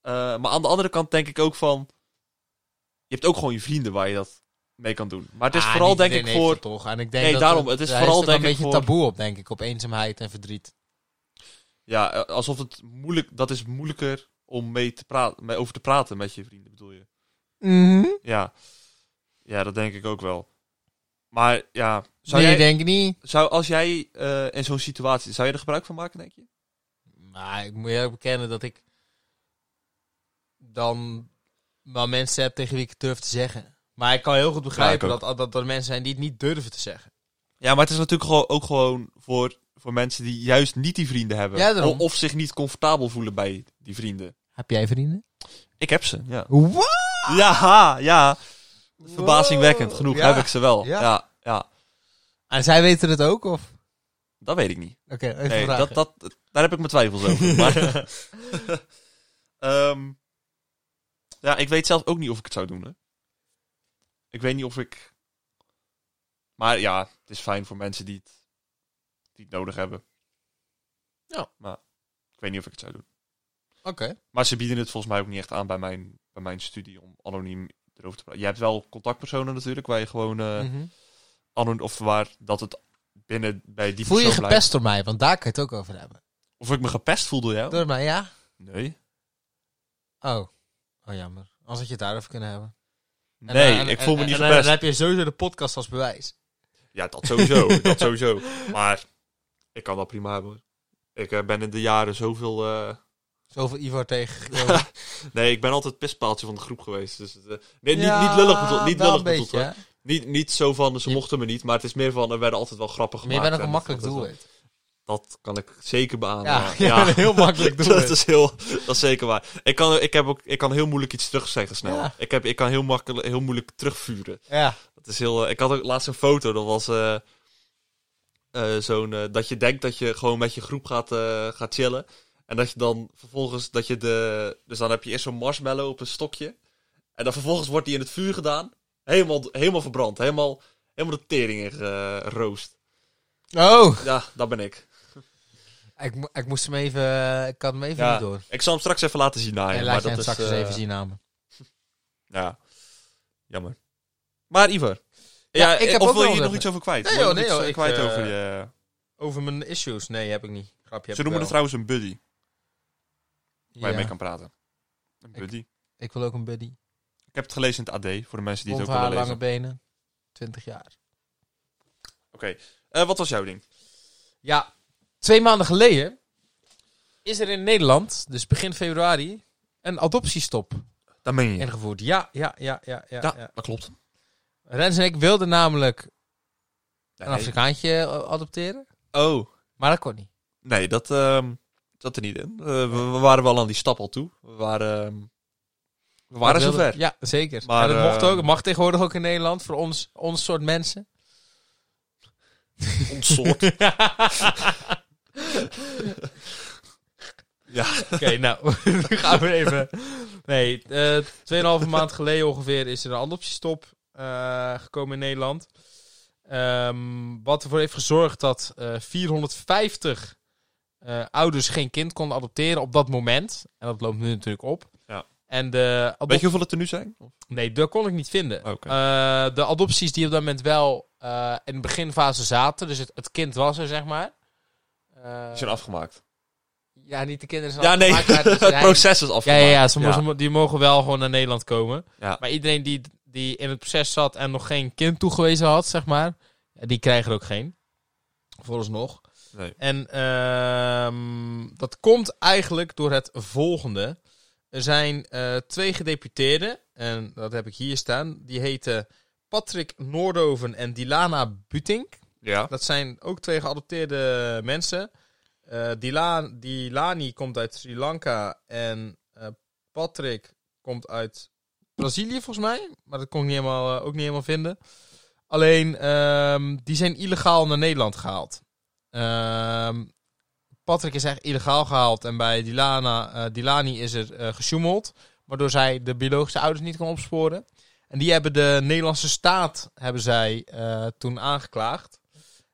Speaker 2: Eh, maar aan de andere kant denk ik ook van. Je hebt ook gewoon je vrienden waar je dat mee kan doen. Maar het is
Speaker 1: Ah,
Speaker 2: vooral
Speaker 1: niet
Speaker 2: denk ik
Speaker 1: iedereen
Speaker 2: voor.
Speaker 1: heeft het toch. En ik denk
Speaker 2: Nee,
Speaker 1: dat
Speaker 2: daarom, het is
Speaker 1: daar
Speaker 2: vooral
Speaker 1: ook wel
Speaker 2: denk ik
Speaker 1: een beetje
Speaker 2: voor-
Speaker 1: taboe op, denk ik. Op eenzaamheid en verdriet.
Speaker 2: Ja, eh, alsof het moeilijk. Dat is moeilijker om mee te praten, mee over te praten met je vrienden, bedoel je? Mhm. Ja. Ja, dat denk ik ook wel. Maar ja, zou
Speaker 1: nee,
Speaker 2: jij,
Speaker 1: denk ik niet.
Speaker 2: Zou, als jij eh, in zo'n situatie, zou je er gebruik van maken, denk je?
Speaker 1: Maar ik moet eerlijk bekennen dat ik dan wel mensen heb tegen wie ik het durf te zeggen. Maar ik kan heel goed begrijpen
Speaker 2: Ja, ik ook.
Speaker 1: dat, dat er mensen zijn die het niet durven te zeggen.
Speaker 2: Ja, maar het is natuurlijk gewoon, ook gewoon voor, voor mensen die juist niet die vrienden hebben.
Speaker 1: Ja, daarom.
Speaker 2: of, of zich niet comfortabel voelen bij die vrienden.
Speaker 1: Heb jij vrienden?
Speaker 2: Ik heb ze, ja.
Speaker 1: Wat?
Speaker 2: Ja, ja. verbazingwekkend genoeg
Speaker 1: Ja.
Speaker 2: heb ik ze wel.
Speaker 1: Ja.
Speaker 2: Ja. ja,
Speaker 1: En zij weten het ook, of?
Speaker 2: dat weet ik niet.
Speaker 1: Oké, even
Speaker 2: Nee,
Speaker 1: vragen.
Speaker 2: dat, dat, daar heb ik mijn twijfels over. maar, Ehm, ja, ik weet zelf ook niet of ik het zou doen. Hè. Ik weet niet of ik... Maar ja, het is fijn voor mensen die het, die het nodig hebben.
Speaker 1: Ja.
Speaker 2: Maar ik weet niet of ik het zou doen.
Speaker 1: Oké.
Speaker 2: Maar ze bieden het volgens mij ook niet echt aan bij mijn, bij mijn studie om anoniem erover te praten. Je hebt wel contactpersonen natuurlijk, waar je gewoon eh
Speaker 1: Mhm.
Speaker 2: anoniem of waar dat het binnen bij die
Speaker 1: Voel je
Speaker 2: persoon
Speaker 1: gepest
Speaker 2: blijft.
Speaker 1: door mij? Want daar kan je het ook over hebben.
Speaker 2: Of ik me gepest voel door jou?
Speaker 1: Door mij, ja?
Speaker 2: Nee.
Speaker 1: Oh. Oh, jammer. Anders had je het daarover kunnen hebben. En
Speaker 2: Nee,
Speaker 1: dan- en-
Speaker 2: ik voel me
Speaker 1: en-
Speaker 2: niet
Speaker 1: en dan-
Speaker 2: gepest.
Speaker 1: Dan heb je sowieso de podcast als bewijs.
Speaker 2: Ja, dat sowieso. dat sowieso. Maar ik kan dat prima hebben. hoor. Ik eh, ben in de jaren zoveel... eh,
Speaker 1: Zoveel Ivo tegen.
Speaker 2: Nee, ik ben altijd pispaaltje van de groep geweest. Dus, het, eh, nee, niet, niet lullig bedoeld. Niet lullig bedoeld hoor. Niet, niet zo van, ze
Speaker 1: Je-
Speaker 2: mochten me niet. Maar het is meer van, er werden altijd wel grappig
Speaker 1: Maar je
Speaker 2: gemaakt.
Speaker 1: bent ook
Speaker 2: en
Speaker 1: een
Speaker 2: dat-
Speaker 1: makkelijk
Speaker 2: dat-
Speaker 1: doel.
Speaker 2: Dat kan ik zeker beamen.
Speaker 1: Ja,
Speaker 2: Ja,
Speaker 1: je bent een heel makkelijk
Speaker 2: dat,
Speaker 1: doelwit.
Speaker 2: is heel, dat is zeker waar. Ik kan, ik, heb ook, ik kan heel moeilijk iets terugzeggen snel.
Speaker 1: Ja.
Speaker 2: Ik, heb, ik kan heel, makkelijk, heel moeilijk terugvuren.
Speaker 1: Ja.
Speaker 2: Dat is heel, eh, ik had ook laatst een foto, dat was eh, eh, zo'n... eh, dat je denkt dat je gewoon met je groep gaat, eh, gaat chillen. En dat je dan vervolgens... Dat je de, dus dan heb je eerst zo'n marshmallow op een stokje. En dan vervolgens wordt die in het vuur gedaan. Helemaal, helemaal verbrand. Helemaal, helemaal de tering in geroost.
Speaker 1: Oh,
Speaker 2: Ja, dat ben ik.
Speaker 1: ik, mo- ik moest hem even... eh, Ik had hem even
Speaker 2: Ja,
Speaker 1: niet door.
Speaker 2: Ik zal hem straks even laten zien naaien.
Speaker 1: Nee,
Speaker 2: maar
Speaker 1: laat je
Speaker 2: dat
Speaker 1: hem
Speaker 2: is,
Speaker 1: straks eens
Speaker 2: eh,
Speaker 1: even zien namen.
Speaker 2: Ja, jammer. Maar Ivar.
Speaker 1: Ja,
Speaker 2: Ja, eh,
Speaker 1: ik heb
Speaker 2: of
Speaker 1: ook
Speaker 2: wil je
Speaker 1: wel
Speaker 2: hier nog
Speaker 1: wat-
Speaker 2: iets over kwijt?
Speaker 1: Nee,
Speaker 2: Wil je
Speaker 1: joh,
Speaker 2: nog
Speaker 1: nee,
Speaker 2: iets,
Speaker 1: joh,
Speaker 2: eh,
Speaker 1: ik,
Speaker 2: kwijt
Speaker 1: eh,
Speaker 2: over je...
Speaker 1: Over mijn issues? Nee, heb ik niet. Grapje
Speaker 2: Ze noemen het trouwens een buddy, waar je mee kan praten. Een
Speaker 1: Ik-
Speaker 2: buddy. Ik,
Speaker 1: Ik wil ook een buddy.
Speaker 2: heb het gelezen in het AD, voor de mensen die
Speaker 1: Blond
Speaker 2: het ook
Speaker 1: haar,
Speaker 2: willen
Speaker 1: eh, lange
Speaker 2: lezen.
Speaker 1: benen. 20 jaar.
Speaker 2: Oké, Eh, wat was jouw ding?
Speaker 1: Ja, twee maanden geleden is er in Nederland, dus begin februari, een adoptiestop
Speaker 2: Dat meen Ja,
Speaker 1: ingevoerd. Ja, ja, ja, ja, ja. ja.
Speaker 2: dat klopt.
Speaker 1: Rens en ik wilden namelijk
Speaker 2: Nee.
Speaker 1: een Afrikaantje eh, adopteren,
Speaker 2: Oh,
Speaker 1: maar dat kon niet.
Speaker 2: nee, dat ehm, zat er niet in. Eh, we, we waren wel aan die stap al toe. We waren, ehm, we waren
Speaker 1: Dat wilden-
Speaker 2: zover.
Speaker 1: Ja, zeker. Maar,
Speaker 2: Maar,
Speaker 1: dat mocht
Speaker 2: eh,
Speaker 1: ook. Het mag tegenwoordig ook in Nederland voor ons, ons soort mensen.
Speaker 2: Ons soort. ja,
Speaker 1: Oké, nou, nu gaan we even. Nee, eh, tweeënhalve maand geleden ongeveer is er een adoptiestop eh, gekomen in Nederland. Ehm, wat ervoor heeft gezorgd dat eh, 450 eh, ouders geen kind konden adopteren op dat moment. En dat loopt nu natuurlijk op.
Speaker 2: Ja.
Speaker 1: En de
Speaker 2: weet je hoeveel het er nu zijn?
Speaker 1: Eh, Nee, dat kon ik niet vinden.
Speaker 2: Oké.
Speaker 1: Eh, de adopties die op dat moment wel eh, in de beginfase zaten, dus het, het kind was er, zeg maar. Eh,
Speaker 2: Die zijn afgemaakt.
Speaker 1: ja, niet de kinderen zijn
Speaker 2: Ja, nee,
Speaker 1: afgemaakt, maar
Speaker 2: het
Speaker 1: zijn-
Speaker 2: proces is
Speaker 1: ja,
Speaker 2: afgemaakt.
Speaker 1: ja, ja, ze mogen- die mogen wel gewoon naar Nederland komen.
Speaker 2: Ja.
Speaker 1: Maar iedereen die, die in het proces zat en nog geen kind toegewezen had, zeg maar, ja, die krijgen er ook geen. Vooralsnog.
Speaker 2: Nee.
Speaker 1: En ehm, dat komt eigenlijk door het volgende. Er zijn eh, twee gedeputeerden, en dat heb ik hier staan. Die heten Patrick Noordhoven en Dilana Butink.
Speaker 2: Ja.
Speaker 1: Dat zijn ook twee geadopteerde mensen. Eh Dila- Dilani komt uit Sri Lanka en eh, Patrick komt uit Brazilië volgens mij. Maar dat kon ik niet helemaal, eh, ook niet helemaal vinden. Alleen, ehm, die zijn illegaal naar Nederland gehaald. Ehm, Patrick is echt illegaal gehaald en bij Dilana, eh, Dilani is er eh gesjoemeld. Waardoor zij de biologische ouders niet kon opsporen. En die hebben de Nederlandse staat hebben zij, eh, toen aangeklaagd.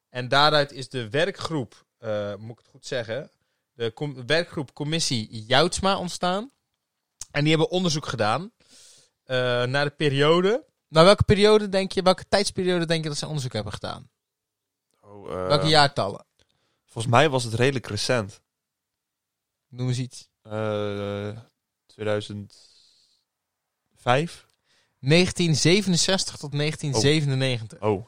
Speaker 1: En daaruit is de werkgroep, eh, moet ik het goed zeggen, de com- werkgroep Commissie Joutsma ontstaan. En die hebben onderzoek gedaan eh, naar de periode. Naar welke periode denk je, welke tijdsperiode denk je dat ze onderzoek hebben gedaan?
Speaker 2: Oh, eh,
Speaker 1: welke jaartallen?
Speaker 2: Volgens mij was het redelijk recent.
Speaker 1: Noem eens iets.
Speaker 2: Eh, 2005.
Speaker 1: 1967 tot 1997.
Speaker 2: Oh.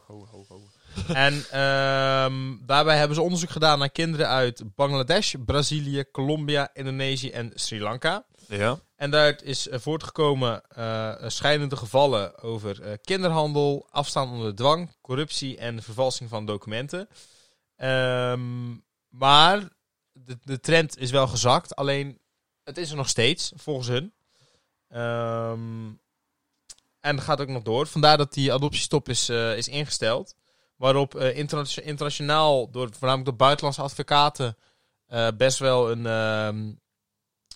Speaker 1: En ehm, daarbij hebben ze onderzoek gedaan naar kinderen uit Bangladesh, Brazilië, Colombia, Indonesië en Sri Lanka.
Speaker 2: Ja.
Speaker 1: En daaruit is eh, voortgekomen eh, schijnende gevallen over eh, kinderhandel, afstaan onder dwang, corruptie en vervalsing van documenten. Ehm, maar de, de trend is wel gezakt, alleen het is er nog steeds, volgens hun. Ehm, En dat gaat ook nog door. Vandaar dat die adoptiestop is, eh, is ingesteld. Waarop eh, interna- internationaal, door, voornamelijk door buitenlandse advocaten, eh, best wel een, ehm,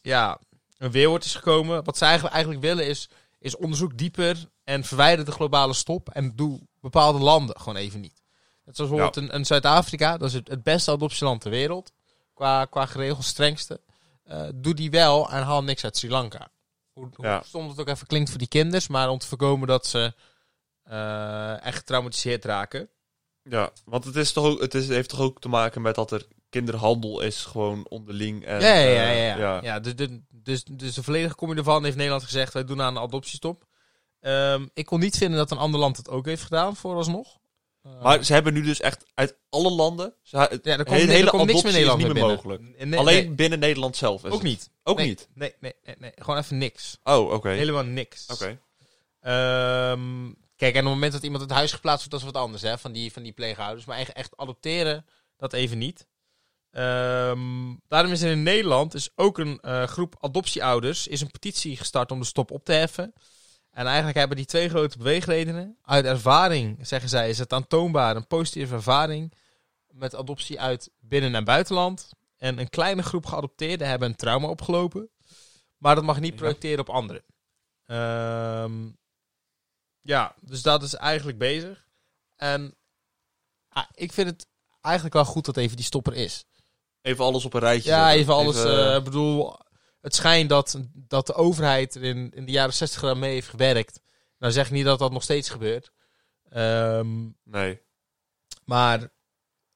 Speaker 1: ja, een weerwoord is gekomen. Wat ze eigenlijk, eigenlijk willen is, is onderzoek dieper en verwijder de globale stop. En doe bepaalde landen gewoon even niet. Net zoals bijvoorbeeld een, een Zuid-Afrika, dat is het, het beste adoptieland ter wereld. Qua, qua geregeld strengste. Eh, doe die wel en haal niks uit Sri Lanka. Hoe, hoe
Speaker 2: Ja.
Speaker 1: stom het ook even klinkt voor die kinders, maar om te voorkomen dat ze eh, echt getraumatiseerd raken.
Speaker 2: Ja, want het, is toch ook, het is, heeft toch ook te maken met dat er kinderhandel is gewoon onderling. En,
Speaker 1: ja, ja, ja.
Speaker 2: eh,
Speaker 1: ja. ja. dus, dus- dus, dus de volledige combi ervan heeft Nederland gezegd, wij doen aan een adoptiestop. Ehm, ik kon niet vinden dat een ander land dat ook heeft gedaan, vooralsnog. Eh,
Speaker 2: Maar ze hebben nu dus echt uit alle landen. Ze, het
Speaker 1: ja, er komt,
Speaker 2: hele,
Speaker 1: er
Speaker 2: hele
Speaker 1: komt niks
Speaker 2: adoptie
Speaker 1: meer
Speaker 2: is
Speaker 1: Nederland
Speaker 2: niet meer
Speaker 1: binnen.
Speaker 2: mogelijk.
Speaker 1: Nee, nee,
Speaker 2: Alleen
Speaker 1: nee,
Speaker 2: binnen Nederland zelf. Is
Speaker 1: ook
Speaker 2: het.
Speaker 1: niet.
Speaker 2: Ook
Speaker 1: nee,
Speaker 2: niet.
Speaker 1: Nee, nee, nee, nee, gewoon even niks.
Speaker 2: Oh, oké.
Speaker 1: Helemaal niks.
Speaker 2: Oké.
Speaker 1: Ehm, kijk, en op het moment dat iemand uit huis geplaatst wordt, dat is wat anders, hè, van die, van die pleegouders. Maar eigenlijk echt adopteren, dat even niet. Ehm, daarom is er in Nederland is ook een eh, groep adoptieouders is een petitie gestart om de stop op te heffen. En eigenlijk hebben die twee grote beweegredenen. Uit ervaring, zeggen zij, is het aantoonbaar een positieve ervaring met adoptie uit binnen- en buitenland. En een kleine groep geadopteerden hebben een trauma opgelopen. Maar dat mag niet
Speaker 2: Ja.
Speaker 1: projecteren op anderen. Ehm, ja, dus dat is eigenlijk bezig. En ah, ik vind het eigenlijk wel goed dat even die stopper is.
Speaker 2: Even alles op een rijtje.
Speaker 1: Ja,
Speaker 2: zetten.
Speaker 1: even alles.
Speaker 2: eh,
Speaker 1: eh, Ik bedoel, het schijnt dat, dat de overheid er in, in de jaren 60 eraan mee heeft gewerkt. Nou zeg ik niet dat dat nog steeds gebeurt. Ehm,
Speaker 2: nee.
Speaker 1: maar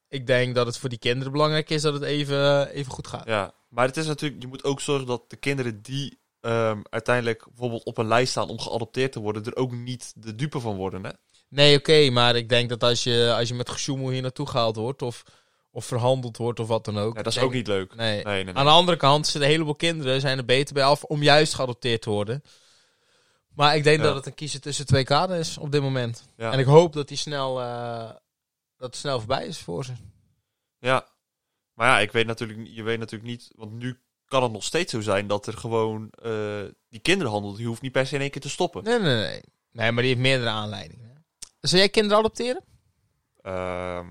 Speaker 1: ik denk dat het voor die kinderen belangrijk is dat het even, eh, even goed gaat.
Speaker 2: Ja, maar het is natuurlijk, je moet ook zorgen dat de kinderen die ehm, uiteindelijk bijvoorbeeld op een lijst staan om geadopteerd te worden, er ook niet de dupe van worden. Hè?
Speaker 1: Nee, oké, maar ik denk dat als je, als je met gesjoemel hier naartoe gehaald wordt of, of verhandeld wordt of wat dan ook.
Speaker 2: Ja, dat is
Speaker 1: denk
Speaker 2: ook niet leuk.
Speaker 1: Nee.
Speaker 2: Nee, nee, nee.
Speaker 1: Aan de andere kant zitten een heleboel kinderen zijn er beter bij af om juist geadopteerd te worden. Maar ik denk
Speaker 2: Ja.
Speaker 1: dat het een kiezen tussen twee kaders is op dit moment.
Speaker 2: Ja.
Speaker 1: En ik hoop dat die snel, eh, dat het snel voorbij is voor ze.
Speaker 2: ja. Maar ja, ik weet natuurlijk, je weet natuurlijk niet, want nu kan het nog steeds zo zijn dat er gewoon eh, die kinderhandel, die hoeft niet per se in één keer te stoppen.
Speaker 1: Nee, nee, nee. Nee, maar die heeft meerdere aanleidingen. hè. Zou jij kinderen adopteren?
Speaker 2: Ehm,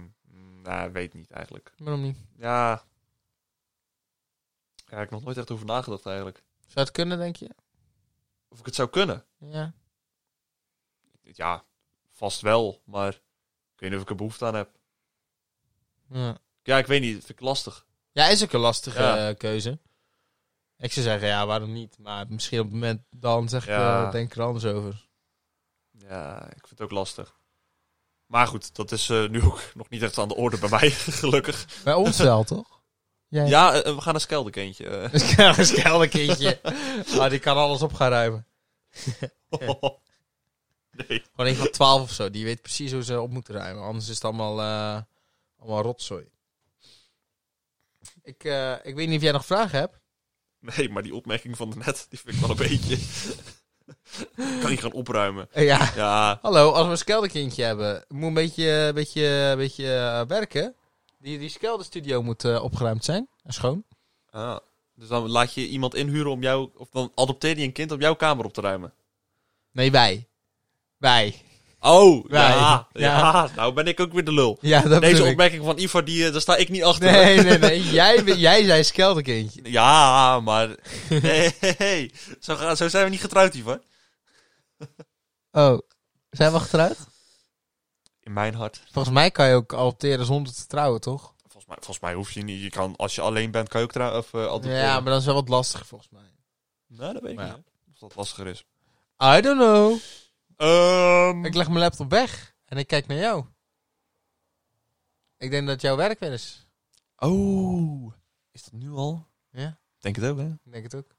Speaker 2: nou, weet niet eigenlijk.
Speaker 1: Waarom niet?
Speaker 2: Ja. Ja, ik heb nog nooit echt over nagedacht eigenlijk.
Speaker 1: Zou het kunnen, denk je?
Speaker 2: Of ik het zou kunnen.
Speaker 1: Ja.
Speaker 2: Ja, vast wel, maar ik weet niet of ik er behoefte aan heb.
Speaker 1: Ja,
Speaker 2: Ja, ik weet niet. Vind ik lastig.
Speaker 1: ja is ook een lastige
Speaker 2: Ja.
Speaker 1: eh, keuze. Ik zou zeggen, ja, waarom niet? Maar misschien op het moment dan zeg ik,
Speaker 2: Ja.
Speaker 1: eh, denk ik er anders over.
Speaker 2: Ja, ik vind het ook lastig. Maar goed, dat is eh, nu ook nog niet echt aan de orde bij mij, gelukkig.
Speaker 1: Bij ons wel, toch? Jij.
Speaker 2: Ja, eh, we gaan naar Skelder, kindje. eh.
Speaker 1: Een skelderkindje. Ah, die kan alles op gaan ruimen.
Speaker 2: nee.
Speaker 1: Gewoon een van 12 of zo. Die weet precies hoe ze op moeten ruimen. Anders is het allemaal, eh, allemaal rotzooi. Ik, eh, ik weet niet of jij nog vragen hebt.
Speaker 2: nee, maar die opmerking van net, die vind ik wel een beetje... kan niet gaan opruimen.
Speaker 1: Eh, ja.
Speaker 2: Ja,
Speaker 1: Hallo, als we een skelderkindje hebben, moet een beetje, een beetje, een beetje eh, werken. Die, die skelderstudio moet eh, opgeruimd zijn en schoon.
Speaker 2: ah. dus dan laat je iemand inhuren om jou... Of dan adopteer je een kind om jouw kamer op te ruimen.
Speaker 1: Nee, wij. Wij.
Speaker 2: Oh,
Speaker 1: Wij.
Speaker 2: ja,
Speaker 1: Ja.
Speaker 2: ja. Nou ben ik ook weer de lul.
Speaker 1: Ja, dat
Speaker 2: Deze
Speaker 1: bedoel ik.
Speaker 2: opmerking van Ivar, die, eh, daar sta ik niet achter.
Speaker 1: Nee, nee, nee. Jij, ben- jij zei skelderkindje.
Speaker 2: Ja, maar. Nee, zo, ga- zo zijn we niet getrouwd, Ivar.
Speaker 1: Oh, zijn we achteruit?
Speaker 2: In mijn hart.
Speaker 1: Volgens mij kan je ook adopteren zonder te trouwen, toch?
Speaker 2: Volgens mij, volgens mij hoef je niet. Je kan, als je alleen bent, kan je ook trouwen. Of, eh, adopteren.
Speaker 1: Ja, maar dat is wel wat lastiger volgens mij.
Speaker 2: Nou, dat weet ik
Speaker 1: Maar ja.
Speaker 2: niet. hè. Of dat lastiger is.
Speaker 1: I don't know.
Speaker 2: Ehm,
Speaker 1: Ik leg mijn laptop weg en ik kijk naar jou. Ik denk dat jouw werk weer is.
Speaker 2: Oh, is dat nu al?
Speaker 1: Ja,
Speaker 2: Denk het ook, hè?
Speaker 1: ik denk het ook.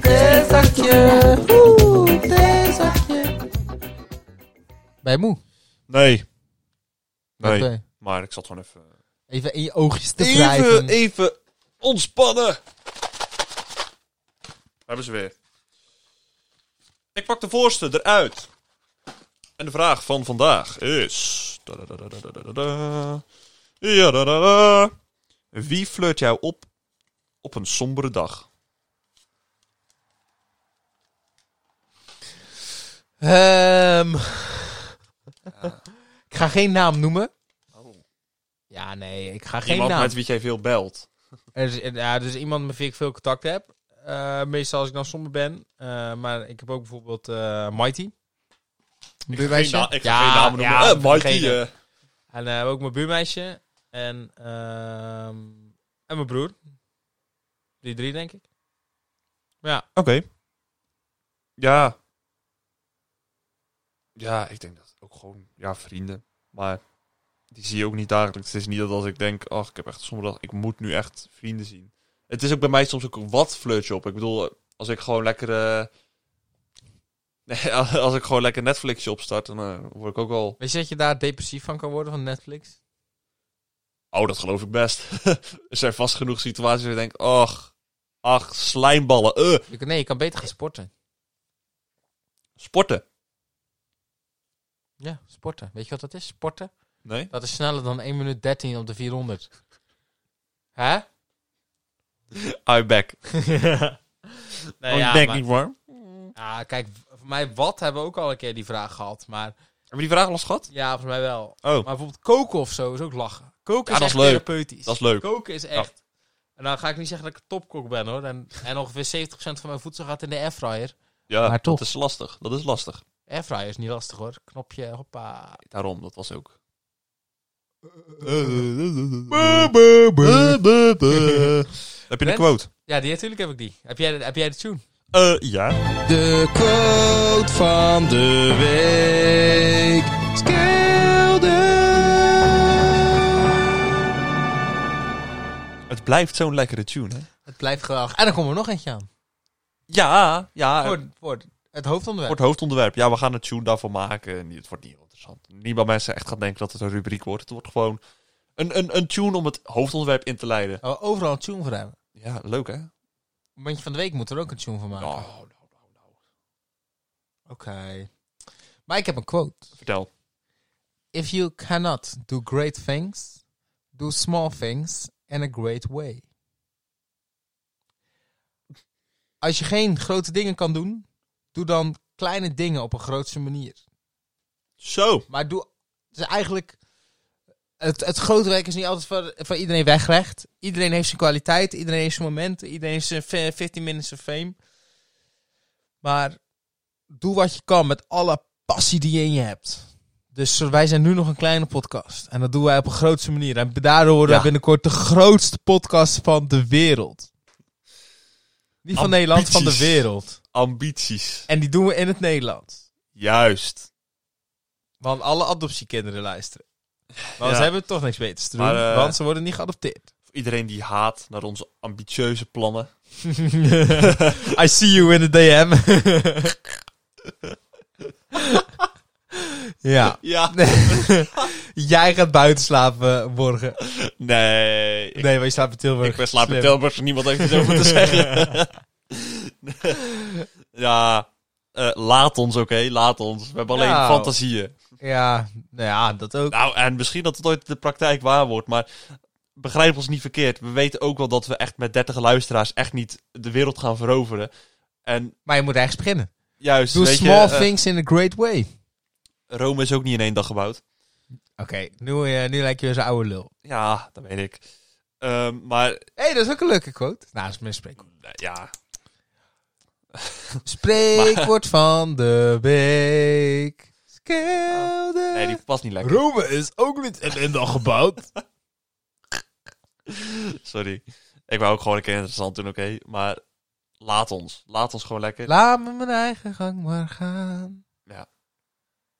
Speaker 1: Theezakje. Oeh, theezakje. Ben je moe?
Speaker 2: Nee. Nee.
Speaker 1: Oké.
Speaker 2: Maar ik zat gewoon even.
Speaker 1: Even in je oogjes te
Speaker 2: Even,
Speaker 1: wrijven.
Speaker 2: even ontspannen. Hebben ze weer. Ik pak de voorste eruit. En de vraag van vandaag is... Dadadadadadada. Ja, dadada. Wie flirt jou op op een sombere dag?
Speaker 1: Ehm, ik ga geen naam noemen. Oh. Ja, nee, ik ga geen
Speaker 2: Iemand
Speaker 1: naam.
Speaker 2: met wie jij veel belt.
Speaker 1: Er is, ja, er is iemand met wie ik veel contact heb. Eh, meestal als ik dan somber ben. Eh, maar ik heb ook bijvoorbeeld eh, Mighty.
Speaker 2: Geen na- ik ga geen namen noemen.
Speaker 1: ja,
Speaker 2: Eh, Mikey,
Speaker 1: vergeten.
Speaker 2: eh,
Speaker 1: En eh, ook mijn buurmeisje. En, ehm, en mijn broer. Die drie, denk ik. Ja,
Speaker 2: Oké. Ja. Ja, ik denk dat ook gewoon, ja, vrienden. Maar die zie je ook niet dagelijks. Het is niet dat als ik denk, ach, ik heb echt sommige dag, ik moet nu echt vrienden zien. Het is ook bij mij soms ook wat flirtje op. Ik bedoel, als ik gewoon lekker. eh, Nee, als ik gewoon lekker Netflixje opstart, dan eh, word ik ook wel.
Speaker 1: weet je dat je daar depressief van kan worden van Netflix?
Speaker 2: Oh, dat geloof ik best. er zijn vast genoeg situaties waar je denkt, ach, ach, slijmballen. eh,
Speaker 1: Je kan- nee, je kan beter gaan sporten.
Speaker 2: sporten.
Speaker 1: Ja, sporten. Weet je wat dat is? Sporten.
Speaker 2: Nee?
Speaker 1: Dat is sneller dan 1 minuut 13 op de 400. Hè?
Speaker 2: I'm back.
Speaker 1: nee,
Speaker 2: ik
Speaker 1: Eh, ja,
Speaker 2: Oh, denk
Speaker 1: maar-
Speaker 2: niet warm.
Speaker 1: Ja, kijk, v- voor mij wat hebben we ook al een keer die vraag gehad. Maar
Speaker 2: Hebben we die vraag al eens gehad?
Speaker 1: ja, volgens mij wel.
Speaker 2: Oh.
Speaker 1: Maar bijvoorbeeld koken of zo is ook lachen. Koken
Speaker 2: Ja,
Speaker 1: is
Speaker 2: dat
Speaker 1: echt
Speaker 2: is leuk.
Speaker 1: therapeutisch.
Speaker 2: Dat is leuk.
Speaker 1: Koken is echt... En dan ga ik niet zeggen dat ik een topkok ben, hoor. En, en ongeveer 70% van mijn voedsel gaat in de airfryer.
Speaker 2: Ja,
Speaker 1: Maar toch.
Speaker 2: dat is lastig. Dat is lastig.
Speaker 1: Airfryer is niet lastig, hoor. Knopje, hoppa.
Speaker 2: Daarom, dat was ook. Heb je een
Speaker 1: Rens?
Speaker 2: quote?
Speaker 1: Ja, die, natuurlijk heb ik die. Heb jij, de- heb jij de tune?
Speaker 2: Eh, ja.
Speaker 1: De quote van de week.
Speaker 2: Het blijft zo'n lekkere tune, hè?
Speaker 1: Het blijft geweldig. En dan komt er nog eentje aan.
Speaker 2: Ja, ja.
Speaker 1: Voor, voor het hoofdonderwerp.
Speaker 2: Voor het hoofdonderwerp. Ja, we gaan een tune daarvoor maken. En het wordt niet heel interessant. Niet bij mensen echt gaan denken dat het een rubriek wordt. Het wordt gewoon een, een, een tune om het hoofdonderwerp in te leiden.
Speaker 1: Oh, overal een tune voor hebben.
Speaker 2: Ja, leuk, hè?
Speaker 1: Momentje van de week moet er ook een tune van maken.
Speaker 2: Nou,
Speaker 1: Oké. Maar ik heb een quote.
Speaker 2: vertel.
Speaker 1: If you cannot do great things, do small things in a great way. Als je geen grote dingen kan doen, doe dan kleine dingen op een grootse manier.
Speaker 2: Zo.
Speaker 1: Maar doe. Dus eigenlijk. Het, het grote werk is niet altijd voor, voor iedereen weggelegd. Iedereen heeft zijn kwaliteit, iedereen heeft zijn momenten, iedereen heeft zijn fi- 15 minutes of fame. Maar doe wat je kan met alle passie die je in je hebt. Dus wij zijn nu nog een kleine podcast. En dat doen wij op een grootste manier. En daardoor worden
Speaker 2: Ja.
Speaker 1: wij binnenkort de grootste podcast van de wereld. Niet van Nederland, van de
Speaker 2: Ambities.
Speaker 1: wereld.
Speaker 2: Ambities.
Speaker 1: En die doen we in het Nederlands.
Speaker 2: Juist.
Speaker 1: Want alle adoptiekinderen luisteren. Want
Speaker 2: Ja.
Speaker 1: ze hebben toch niks beters te doen.
Speaker 2: Maar, eh,
Speaker 1: want ze worden niet geadopteerd.
Speaker 2: Voor iedereen die haat naar onze ambitieuze plannen.
Speaker 1: I see you in the DM. ja.
Speaker 2: Ja.
Speaker 1: Jij gaat buiten slapen morgen.
Speaker 2: Nee. Ik,
Speaker 1: Nee, maar je slaapt in Tilburg.
Speaker 2: ik ben slaap in
Speaker 1: Slim.
Speaker 2: Tilburg, dus niemand heeft iets over te zeggen. ja. eh, laat ons, oké? Laat ons. We hebben alleen
Speaker 1: Nou.
Speaker 2: fantasieën.
Speaker 1: Ja, nou ja, dat ook.
Speaker 2: Nou, en misschien dat het ooit in de praktijk waar wordt, maar begrijp ons niet verkeerd. We weten ook wel dat we echt met 30 luisteraars echt niet de wereld gaan veroveren. En
Speaker 1: Maar je moet ergens beginnen.
Speaker 2: juist,
Speaker 1: Doe
Speaker 2: weet
Speaker 1: small
Speaker 2: je, eh,
Speaker 1: things in a great way. Oké,
Speaker 2: Rome is ook niet in één dag gebouwd.
Speaker 1: nu, eh, nu lijk je weer zo'n oude lul.
Speaker 2: Ja, dat weet ik. Ehm, maar,
Speaker 1: Hé, hey, dat is ook een leuke quote. Nou, dat is mijn spreekwoord.
Speaker 2: nou ja,
Speaker 1: Spreekwoord van de week. Skelder.
Speaker 2: Ah, nee, die past niet lekker.
Speaker 1: Rome is ook niet in één dag gebouwd.
Speaker 2: Sorry. Ik wou ook gewoon een keer interessant doen, oké. Maar laat ons. Laat ons gewoon lekker.
Speaker 1: Laat me mijn eigen gang maar gaan.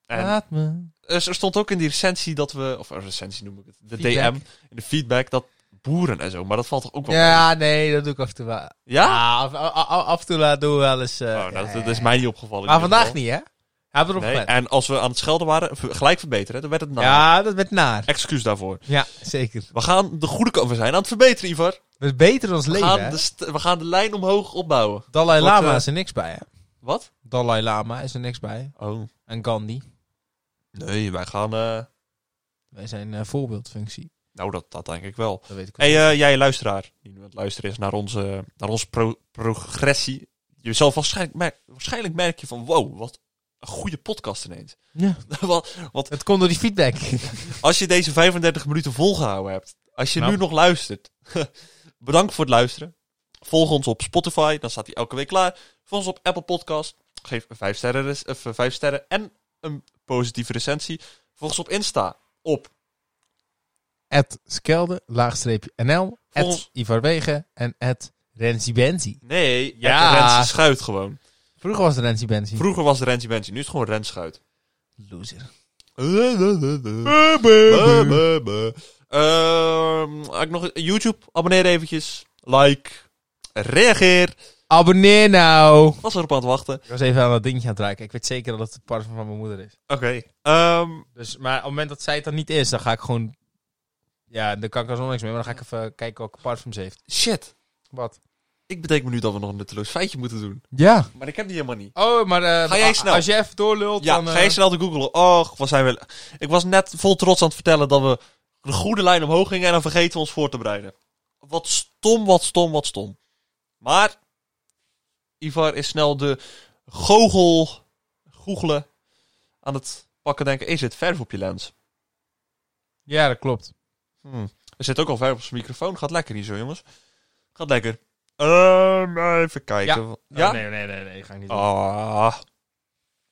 Speaker 2: en
Speaker 1: Laat me.
Speaker 2: er er stond ook in die recensie dat we... Of een recensie noem ik het. De
Speaker 1: Feedback.
Speaker 2: DM. In de feedback dat boeren en zo. Maar dat valt toch ook wel mee?
Speaker 1: Ja, nee, dat doe ik af en toe wel.
Speaker 2: Ja?
Speaker 1: Ah, af, af, af- af en toe laat doen we wel eens. eh,
Speaker 2: Oh, nou, dat,
Speaker 1: ja,
Speaker 2: dat is
Speaker 1: ja.
Speaker 2: mij niet opgevallen.
Speaker 1: Maar
Speaker 2: in ieder
Speaker 1: vandaag
Speaker 2: geval.
Speaker 1: niet, hè? Hebben we erop
Speaker 2: Nee,
Speaker 1: gelet.
Speaker 2: en als we aan het schelden waren, ver- gelijk verbeteren. hè, Dan werd het nou.
Speaker 1: Ja, dat werd naar.
Speaker 2: Excuus daarvoor.
Speaker 1: Ja, zeker.
Speaker 2: We gaan de goede kant... We zijn aan het verbeteren, Ivar.
Speaker 1: We beteren ons
Speaker 2: We
Speaker 1: leven,
Speaker 2: gaan
Speaker 1: hè?
Speaker 2: de, st- we gaan de lijn omhoog opbouwen.
Speaker 1: Dalai
Speaker 2: Wordt,
Speaker 1: Lama
Speaker 2: eh,
Speaker 1: is er niks bij, hè?
Speaker 2: Wat?
Speaker 1: Dalai Lama is er niks bij.
Speaker 2: Oh.
Speaker 1: En Gandhi.
Speaker 2: Nee, wij gaan... eh,
Speaker 1: Wij zijn eh, voorbeeldfunctie.
Speaker 2: nou, dat, dat denk ik wel.
Speaker 1: Dat weet ik
Speaker 2: Hey, eh, jij luisteraar, die nu aan het luisteren is naar onze, naar onze pro- progressie. Je zal waarschijnlijk, mer- waarschijnlijk merk je van, wow, wat een goede podcast ineens.
Speaker 1: Ja.
Speaker 2: want, want
Speaker 1: Het komt door die feedback.
Speaker 2: als je deze 35 minuten volgehouden hebt, als je
Speaker 1: Nou.
Speaker 2: nu nog luistert, bedankt voor het luisteren. Volg ons op Spotify, dan staat hij elke week klaar. Volg ons op Apple Podcast, geef een 5 sterren, res- of, eh, vijf sterren en een positieve recensie. Volg ons op Insta, op
Speaker 1: At Skelde, laagstreepje NL.
Speaker 2: Volgens-
Speaker 1: At Ivar Wegen en at Renzi Benzi.
Speaker 2: nee,
Speaker 1: Ja.
Speaker 2: ja. Rens Schuit gewoon.
Speaker 1: Vroeger was het Renzi Benzi.
Speaker 2: Vroeger was het Rens Benji, nu is het gewoon Rens Schuit. Ehm,
Speaker 1: Loser.
Speaker 2: Buh, buh, buh. Ehm, had ik nog een- YouTube, abonneer eventjes. Like. Reageer.
Speaker 1: Abonneer nou.
Speaker 2: Was erop aan het wachten.
Speaker 1: Ik was even aan dat dingetje aan het raken. Ik weet zeker dat het de parfum van mijn moeder is.
Speaker 2: Oké. ehm,
Speaker 1: Dus, maar op het moment dat zij het dan niet is, dan ga ik gewoon... Ja, dan kan ik er zo niks mee. Maar dan ga ik even kijken welke parfums ze heeft.
Speaker 2: shit.
Speaker 1: Wat?
Speaker 2: Ik bedenk me nu dat we nog een nutteloos feitje moeten doen.
Speaker 1: Ja.
Speaker 2: Maar ik heb die helemaal niet.
Speaker 1: Oh, maar eh,
Speaker 2: Ga jij
Speaker 1: a-
Speaker 2: snel?
Speaker 1: als jij even doorlult,
Speaker 2: Ja,
Speaker 1: dan... eh,
Speaker 2: ga je snel te googlen. Och, wat zijn we... Ik was net vol trots aan het vertellen dat we de goede lijn omhoog gingen en dan vergeten we ons voor te bereiden. Wat stom, wat stom, wat stom. Maar Ivar is snel de goochel googelen aan het pakken denken. Is het verf op je lens?
Speaker 1: Ja, dat klopt.
Speaker 2: Hmm. Er zit ook al verf op zijn microfoon. Gaat lekker hier zo, jongens. Gaat lekker. Ehm, even kijken. Ja?
Speaker 1: Oh, nee, nee, nee, nee. Ga ik niet doen.
Speaker 2: Ah.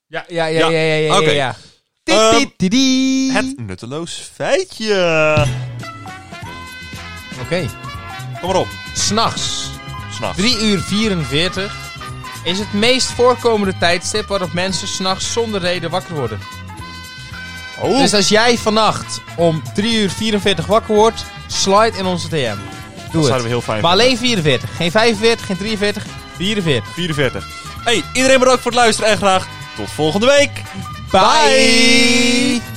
Speaker 1: Ja, ja, ja,
Speaker 2: Ja.
Speaker 1: ja, ja, ja, ja,
Speaker 2: Oké.
Speaker 1: ja.
Speaker 2: Ehm,
Speaker 1: Ti, ti, ti, ti.
Speaker 2: Het nutteloos feitje.
Speaker 1: Oké.
Speaker 2: Kom maar op.
Speaker 1: S'nachts,
Speaker 2: S'nachts.
Speaker 1: 3 uur 44, is het meest voorkomende tijdstip waarop mensen s'nachts zonder reden wakker worden.
Speaker 2: Oh.
Speaker 1: Dus als jij vannacht om 3 uur 44 wakker wordt, slide in onze DM.
Speaker 2: Dat
Speaker 1: Doe
Speaker 2: zouden
Speaker 1: het.
Speaker 2: we heel fijn
Speaker 1: Maar
Speaker 2: vinden.
Speaker 1: alleen 44. Geen 45, geen 43, 44.
Speaker 2: 44. Hey, iedereen bedankt voor het luisteren en graag tot volgende week.
Speaker 1: Bye.